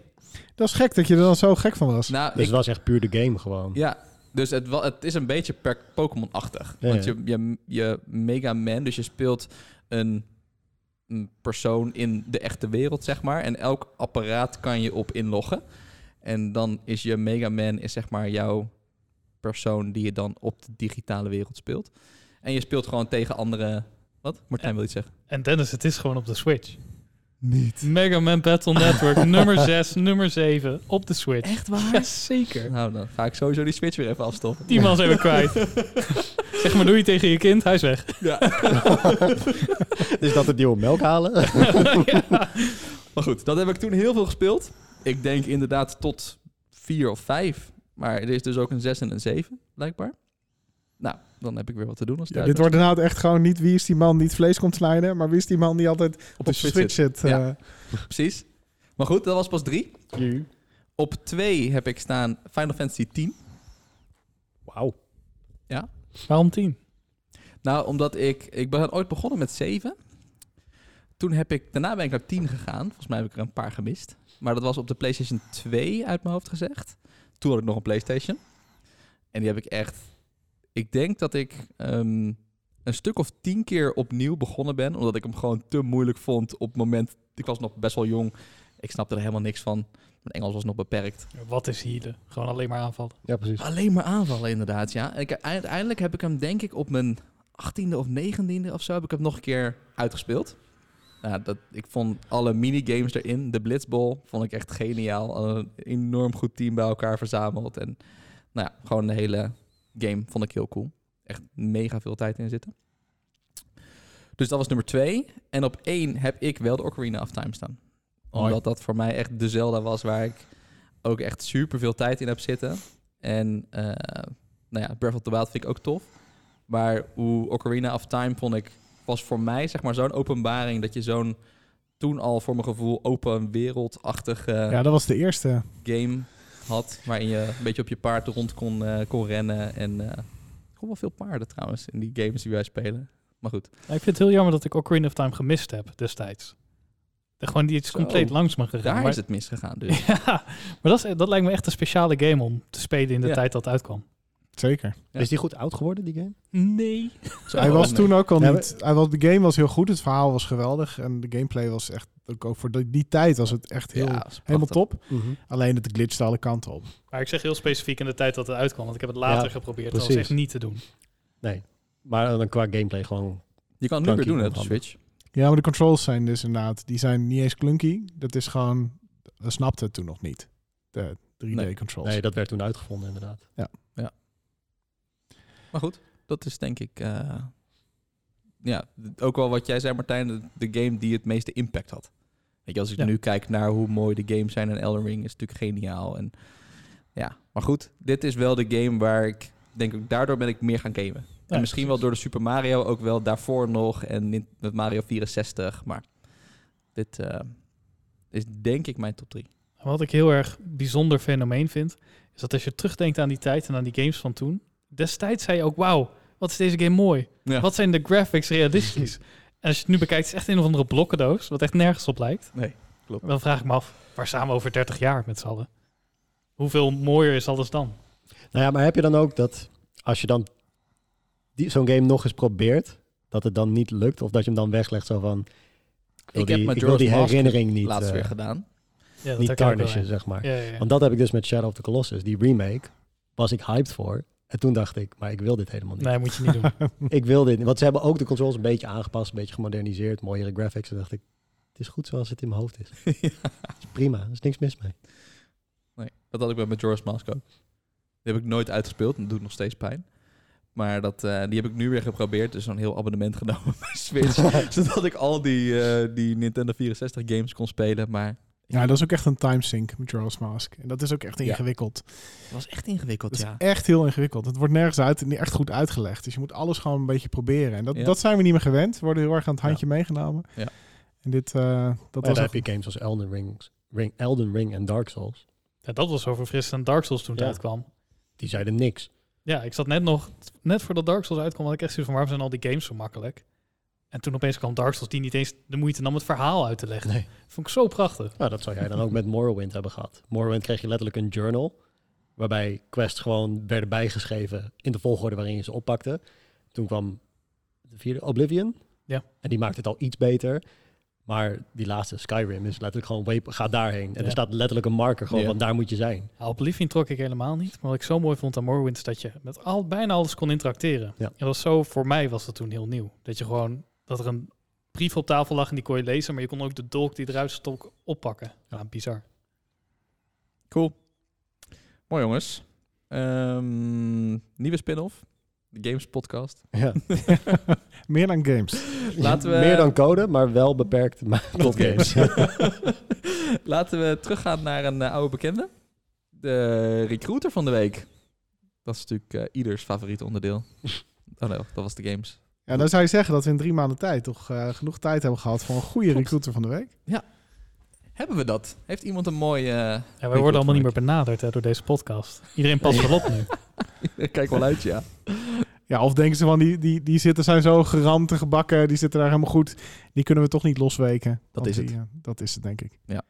Dat is gek dat je er dan zo gek van was. nou, Dus ik- het was echt puur de game gewoon. Ja, dus het, wa- het is een beetje per Pokémon-achtig. Ja, want ja. Je, je, je Mega Man, dus je speelt een, een persoon in de echte wereld, zeg maar. En elk apparaat kan je op inloggen. En dan is je Mega Man, is zeg maar jouw persoon die je dan op de digitale wereld speelt. En je speelt gewoon tegen andere... Wat? Martijn wil iets zeggen. En Dennis, het is gewoon op de Switch. Niet. Mega Man Battle Network, nummer 6, nummer 7, op de Switch. Echt waar? Jazeker. Nou, dan ga ik sowieso die Switch weer even afstoppen. Die man zijn we kwijt. Zeg maar, doe je tegen je kind, hij is weg. Is Dus dat het nieuwe melk halen? Maar goed, dat heb ik toen heel veel gespeeld. Ik denk inderdaad tot vier of vijf. Maar er is dus ook een zes en een zeven, blijkbaar. Nou, dan heb ik weer wat te doen als Ja, thuis. dit wordt inderdaad echt gewoon niet wie is die man die het vlees komt snijden, maar wie is die man die altijd op de Switch Switch, zit. eh. Ja. Precies. Maar goed, dat was pas drie. Op twee heb ik staan Final Fantasy 10. Wauw. Waarom 10? Nou, omdat ik... Ik ben ooit begonnen met 7. Toen heb ik... Daarna ben ik naar 10 gegaan. Volgens mij heb ik er een paar gemist. Maar dat was op de PlayStation 2 uit mijn hoofd gezegd. Toen had ik nog een PlayStation. En die heb ik echt... Ik denk dat ik ehm, een stuk of 10 keer opnieuw begonnen ben. Omdat ik hem gewoon te moeilijk vond op het moment... Ik was nog best wel jong. Ik snapte er helemaal niks van. Mijn Engels was nog beperkt. Wat is healen? Gewoon alleen maar aanvallen. Ja, precies. Alleen maar aanvallen, inderdaad, ja. En ik, uiteindelijk heb ik hem, denk ik, op mijn 18e of 19e of zo, heb ik hem nog een keer uitgespeeld. Nou, dat, ik vond alle minigames erin, de Blitzball, vond ik echt geniaal. Een enorm goed team bij elkaar verzameld. En nou ja, gewoon de hele game vond ik heel cool. Echt mega veel tijd in zitten. Dus dat was nummer 2. En op 1 heb ik wel de Ocarina of Time staan. Hoi. Omdat Oh, dat voor mij echt de Zelda was waar ik ook echt super veel tijd in heb zitten. En eh, nou ja, Breath of the Wild vind ik ook tof. Maar hoe Ocarina of Time vond ik, was voor mij zeg maar zo'n openbaring dat je zo'n toen al voor mijn gevoel open wereldachtige ja, dat was de eerste. game had. Waarin je een beetje op je paard rond kon, eh, kon rennen. En eh gewoon wel veel paarden trouwens in die games die wij spelen. Maar goed. Ja, ik vind het heel jammer dat ik Ocarina of Time gemist heb destijds. Er gewoon die iets Zo, compleet langs me gegaan. Daar maar, is het misgegaan dus. Ja, maar dat, is, dat lijkt me echt een speciale game om te spelen in de Ja. tijd dat het uitkwam. Zeker. Ja. Is die goed oud geworden, die game? Nee. Zo, hij was nee. toen ook al Ja, niet. Hij was, de game was heel goed, het verhaal was geweldig en de gameplay was echt ook, ook voor die, die tijd was het echt heel, Ja, dat is helemaal prachtig. top. Mhm. Alleen het glitste alle kanten op. Maar ik zeg heel specifiek in de tijd dat het uitkwam, want ik heb het later Ja, geprobeerd. Dat was precies. echt niet te doen. Maar dan qua gameplay gewoon... Je kan het nu weer Dank doen je, hè, op de Mohammed. Switch. Ja, maar de controls zijn dus inderdaad, die zijn niet eens clunky. Dat is gewoon, we snapten het toen nog niet. De 3D Nee. controls. Nee, dat werd toen uitgevonden inderdaad. Maar goed, dat is denk ik... eh, ja, d- ook wel wat jij zei Martijn, de, de game die het meeste impact had. Weet je, als ik Ja. nu kijk naar hoe mooi de games zijn en Elden Ring is natuurlijk geniaal. En, ja, maar goed, dit is wel de game waar ik denk ik, daardoor ben ik meer gaan gamen. Ja, en misschien wel door de Super Mario ook wel daarvoor nog. En nin- met Mario 64. Maar dit eh, is denk ik mijn top 3. Wat ik heel erg bijzonder fenomeen vind, is dat als je terugdenkt aan die tijd en aan die games van toen, destijds zei je ook, wauw, wat is deze game mooi. Ja. Wat zijn de graphics realistisch. en als je het nu bekijkt, is het echt een of andere blokkendoos, wat echt nergens op lijkt. Nee, klopt. Dan vraag ik me af, waar staan we over 30 jaar met z'n allen? Hoeveel mooier is alles dan? Nou ja, maar heb je dan ook dat als je dan die- zo'n game nog eens probeert, dat het dan niet lukt? Of dat je hem dan weglegt zo van, ik wil Ik die, heb ik wil Majora's die Mask herinnering niet, laatst eh, weer gedaan. Ja, dat niet tarnishen, zeg maar. Ja, ja, ja. Want dat heb ik dus met Shadow of the Colossus, die remake, was ik hyped voor. En toen dacht ik, maar ik wil dit helemaal niet. Nee, moet je niet doen. Ik wil dit niet. Want ze hebben ook de controls een beetje aangepast, een beetje gemoderniseerd, mooiere graphics. En dacht ik, het is goed zoals het in mijn hoofd is. Het is prima, er is niks mis mee. Nee, dat had ik bij Majora's Mask ook. Die heb ik nooit uitgespeeld en dat doet nog steeds pijn. Maar dat, eh, die heb ik nu weer geprobeerd. Dus zo'n heel abonnement genomen bij Switch. zodat ik al die, eh, die Nintendo 64 games kon spelen. Maar Ja, dat is ook echt een timesync, Majora's Mask. En dat is ook echt Ja. ingewikkeld. Het was echt ingewikkeld, Dat is ja. echt heel ingewikkeld. Het wordt nergens uit en niet echt goed uitgelegd. Dus je moet alles gewoon een beetje proberen. En dat, Ja. dat zijn we niet meer gewend. We worden heel erg aan het handje meegenomen. Ja. En dit, eh, dat dan was heb je games als Elden Ring, Ring, Elden Ring en Dark Souls. Ja, dat was zo verfrissend aan Dark Souls toen het Ja. uitkwam. Die zeiden niks. Ja, ik zat net nog, net voordat Dark Souls uitkwam, had ik echt zoiets van, waarom zijn al die games zo makkelijk? En toen opeens kwam Dark Souls die niet eens de moeite nam het verhaal uit te leggen. Nee. Vond ik zo prachtig. Nou, dat zou jij dan ook met Morrowind hebben gehad. Morrowind kreeg je letterlijk een journal. Waarbij quests gewoon werden bijgeschreven in de volgorde waarin je ze oppakte. Toen kwam de vierde Oblivion. Ja. En die maakte het al iets beter. Maar die laatste Skyrim is letterlijk gewoon, way- ga daarheen. En Ja. er staat letterlijk een marker gewoon, Ja. want daar moet je zijn. Ja, Oblivion trok ik helemaal niet. Maar wat ik zo mooi vond aan Morrowind is dat je met al, bijna alles kon interacteren. Ja. En dat was zo, voor mij was dat toen heel nieuw. Dat je gewoon, dat er een brief op tafel lag en die kon je lezen, maar je kon ook de dolk die eruit stonk oppakken. Ja, bizar. Cool. Mooi jongens. Ehm, nieuwe spin-off. De Games Podcast. Ja. meer dan games. Laten we- Meer dan code, maar wel beperkt maar tot games. Laten we teruggaan naar een eh, oude bekende. De recruiter van de week. Dat is natuurlijk eh, ieders favoriete onderdeel. Oh nee, dat was de games. Ja, dan zou je zeggen dat we in drie maanden tijd toch eh, genoeg tijd hebben gehad voor een goede recruiter van de week. Hebben we dat? Heeft iemand een mooie... eh, Ja, wij goed, worden allemaal niet Mike. meer benaderd hè, door deze podcast. Iedereen past wel op nu. Kijk wel uit, ja. Ja, of denken ze van die, die, die zitten zijn zo geramd en gebakken, die zitten daar helemaal goed. Die kunnen we toch niet losweken. Want is die, het. eh, dat is het, denk ik. Ja.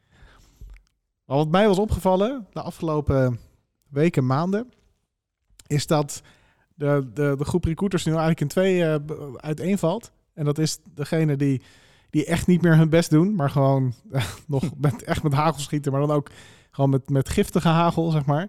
Maar wat mij was opgevallen de afgelopen weken, maanden, is dat de, de, de groep recruiters nu eigenlijk in twee eh, b- uiteenvalt. En dat is degene die, die echt niet meer hun best doen, maar gewoon eh, nog met, echt met hagel schieten, maar dan ook gewoon met, met giftige hagel, zeg maar.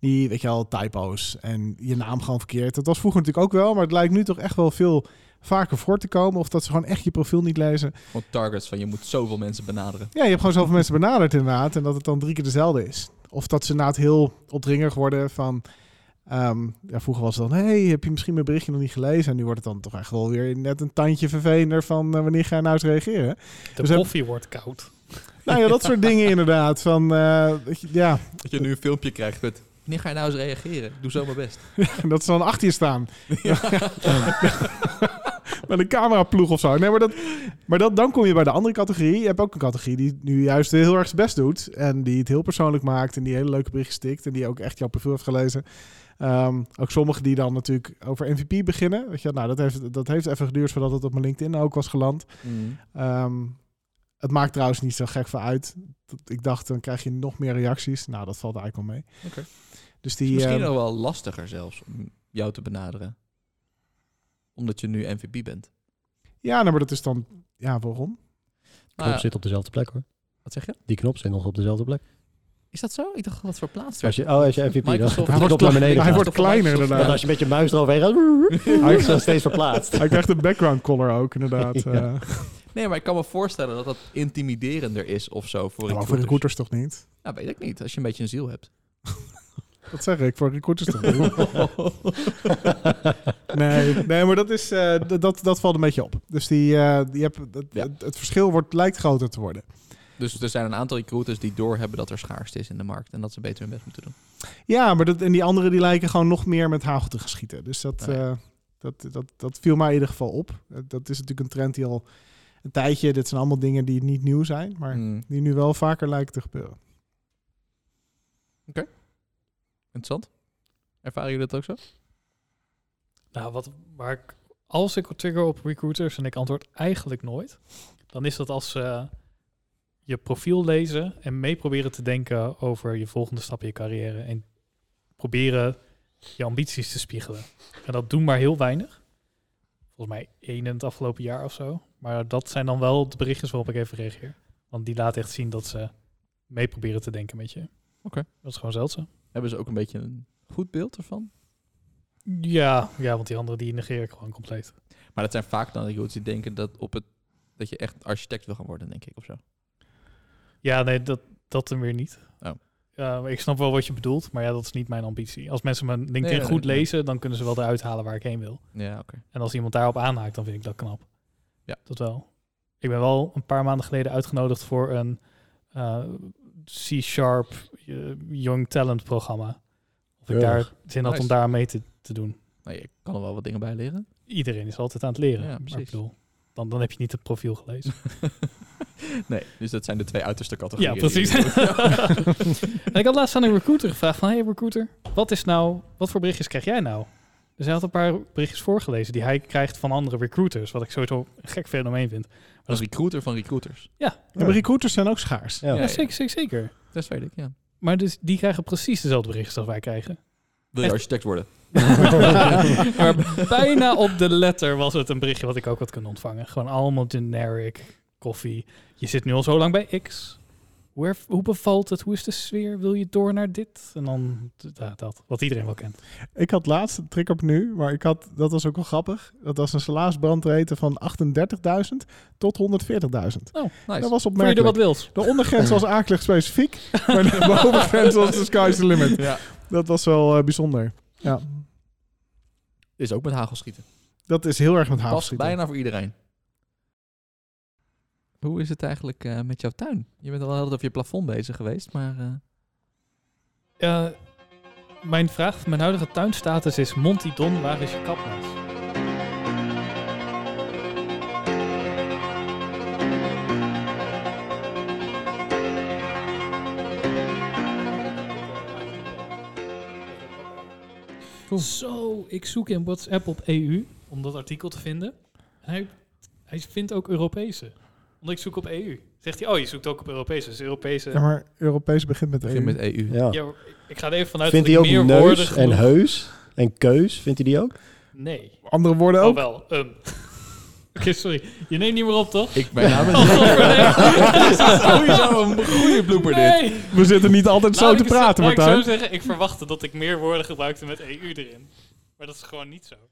Die, weet je al, typo's en je naam gewoon verkeerd. Dat was vroeger natuurlijk ook wel, maar het lijkt nu toch echt wel veel vaker voor te komen. Of dat ze gewoon echt je profiel niet lezen. Gewoon targets van je moet zoveel mensen benaderen. Ja, je hebt gewoon zoveel mensen benaderd inderdaad. En dat het dan drie keer dezelfde is. Of dat ze inderdaad heel opdringerig worden van... ehm, ja, vroeger was het dan... hey, heb je misschien mijn berichtje nog niet gelezen? En nu wordt het dan toch echt wel weer net een tandje vervelender van... eh, wanneer ga je nou eens reageren? De Dus heb- koffie wordt koud. nou ja, dat soort dingen inderdaad. Van, eh, dat je- ja, Dat je nu een filmpje krijgt met... Wanneer ga je nou eens reageren? Doe zo mijn best. dat ze dan achter je staan. Met een cameraploeg of zo. Nee, maar, dat, maar dat, dan kom je bij de andere categorie. Je hebt ook een categorie die nu juist heel erg zijn best doet. En die het heel persoonlijk maakt. En die hele leuke berichten stikt. En die ook echt jouw profiel heeft gelezen. Ehm, ook sommigen die dan natuurlijk over MVP beginnen. Weet je, wel, nou, dat, heeft, dat heeft even geduurd voordat het op mijn LinkedIn ook was geland. Ehm, het maakt trouwens niet zo gek voor uit. Dat- Ik dacht, dan krijg je nog meer reacties. Nou, dat valt eigenlijk wel mee. Oké. Dus Het die, is misschien eh, ehm, nog wel lastiger zelfs om jou te benaderen. Omdat je nu MVP bent. ja, nou, maar dat is dan... Ja, waarom? Nou knop ja, zit op dezelfde plek hoor. wat zeg je? Die knop zit nog op dezelfde plek. Is dat zo? Ik dacht dat het verplaatst werd. Als je, oh, als je MVP dan Microsoft- knop naar klein- beneden hij gaat. wordt kleiner inderdaad. Want als je met je muis eroverheen gaat, hij is nog steeds verplaatst. Hij krijgt een background color ook, inderdaad. Ja. eh. Nee, maar ik kan me voorstellen dat dat intimiderender is of zo voor Ja, maar voor recruiters. recruiters toch niet? Nou, weet ik niet. Als je een beetje een ziel hebt. Dat zeg ik, voor recruiters toch niet? nee, nee, maar dat, is, eh, d- dat, dat valt een beetje op. Dus die, eh, die heb, het, Ja. het, het verschil wordt, lijkt groter te worden. dus er zijn een aantal recruiters die doorhebben dat er schaarste is in de markt. En dat ze beter hun best moeten doen. Ja, maar dat, en die anderen die lijken gewoon nog meer met hagel te geschieten. Dus dat, Nee. eh, dat, dat, dat viel mij in ieder geval op. Eh, Dat is natuurlijk een trend die al een tijdje... Dit zijn allemaal dingen die niet nieuw zijn, maar Mm, die nu wel vaker lijken te gebeuren. Interessant. Ervaren jullie dat ook zo? Nou, wat, waar ik, als ik trigger op recruiters en ik antwoord eigenlijk nooit, dan is dat als ze je profiel lezen en mee proberen te denken over je volgende stap in je carrière en proberen je ambities te spiegelen. En dat doen maar heel weinig. Volgens mij één in het afgelopen jaar of zo. Maar dat zijn dan wel de berichtjes waarop ik even reageer. Want die laten echt zien dat ze mee proberen te denken met je. Oké. Dat is gewoon zeldzaam. Hebben ze ook een beetje een goed beeld ervan? Ja, ja, want die andere die negeer ik gewoon compleet. Maar dat zijn vaak dan recruiters die denken dat, op het, dat je echt architect wil gaan worden, denk ik, of zo. Ja, nee, dat, dat dan weer niet. Oh. Ja, ik snap wel wat je bedoelt, maar ja, dat is niet mijn ambitie. Als mensen mijn LinkedIn Nee, nee, goed nee. lezen, dan kunnen ze wel eruit halen waar ik heen wil. Ja, oké. En als iemand daarop aanhaakt, dan vind ik dat knap. Ja. Dat wel. Ik ben wel een paar maanden geleden uitgenodigd voor een eh, C-Sharp eh, Young Talent programma. Of ik Keurig. daar zin had om Nice. daar mee te, te doen. Nou, je kan er wel wat dingen bij leren. Iedereen is altijd aan het leren. Ja, maar ik precies. bedoel, dan, dan heb je niet het profiel gelezen. Nee, dus dat zijn de twee uiterste categorieën. ja, precies. die je doet. en ik had laatst aan een recruiter gevraagd van... Hey recruiter, wat is nou... Wat voor berichtjes krijg jij nou? Dus hij had een paar berichtjes voorgelezen die hij krijgt van andere recruiters. Wat ik sowieso een gek fenomeen vind. Een recruiter van recruiters. Ja, maar recruiters zijn ook schaars. Ja. Ja, zeker, zeker, zeker. Dat weet ik, ja. Maar dus die krijgen precies dezelfde berichtjes als wij krijgen. Wil je Echt? architect worden? maar bijna op de letter was het een berichtje wat ik ook had kunnen ontvangen. Gewoon allemaal generic koffie. Je zit nu al zo lang bij X. Hoe, erv- hoe bevalt het? Hoe is de sfeer? Wil je door naar dit? En dan d- ja, dat, wat iedereen wel kent. Ik had laatst, trek op nu, maar ik had, dat was ook wel grappig. Dat was een salarisbrandrete van 38.000 tot 140.000. Oh, Nice. Dat was Voel je er wat opmerkelijk. wilt? De ondergrens was akelig specifiek, maar de bovengrens was de sky's the limit. Ja. Dat was wel eh, bijzonder. Ja, Is ook met hagelschieten. dat is heel erg met haast. Past bijna voor iedereen. Hoe is het eigenlijk eh, met jouw tuin? Je bent al altijd over je plafond bezig geweest, maar... eh, Eh, mijn vraag van mijn huidige tuinstatus is... Monty Don, waar is je kapmes? Zo, ik zoek in WhatsApp op EU om dat artikel te vinden. Hij, hij vindt ook Europese. Omdat ik zoek op EU. Zegt hij, oh, je zoekt ook op Europese. Dus Europese... Ja, maar Europees begint met begin EU. met E EU. Ja. Ja, maar ik- ik ga er even vanuit Oh. Vindt dat hij ik ook meer woorden neus en genoeg- heus en keus? Vindt hij die ook? Nee. Andere woorden Oh, ook. wel. ehm. Oké, sorry. Je neemt niet meer op, toch? Ik ben namens... Oh, nee. Sowieso een goede blooper dit. Nee. We zitten niet altijd zo Laat te Nou, ik het- praten, laat ik Martijn. zo zeggen, ik verwachtte dat ik meer woorden gebruikte met EU erin. E Maar dat is gewoon niet zo.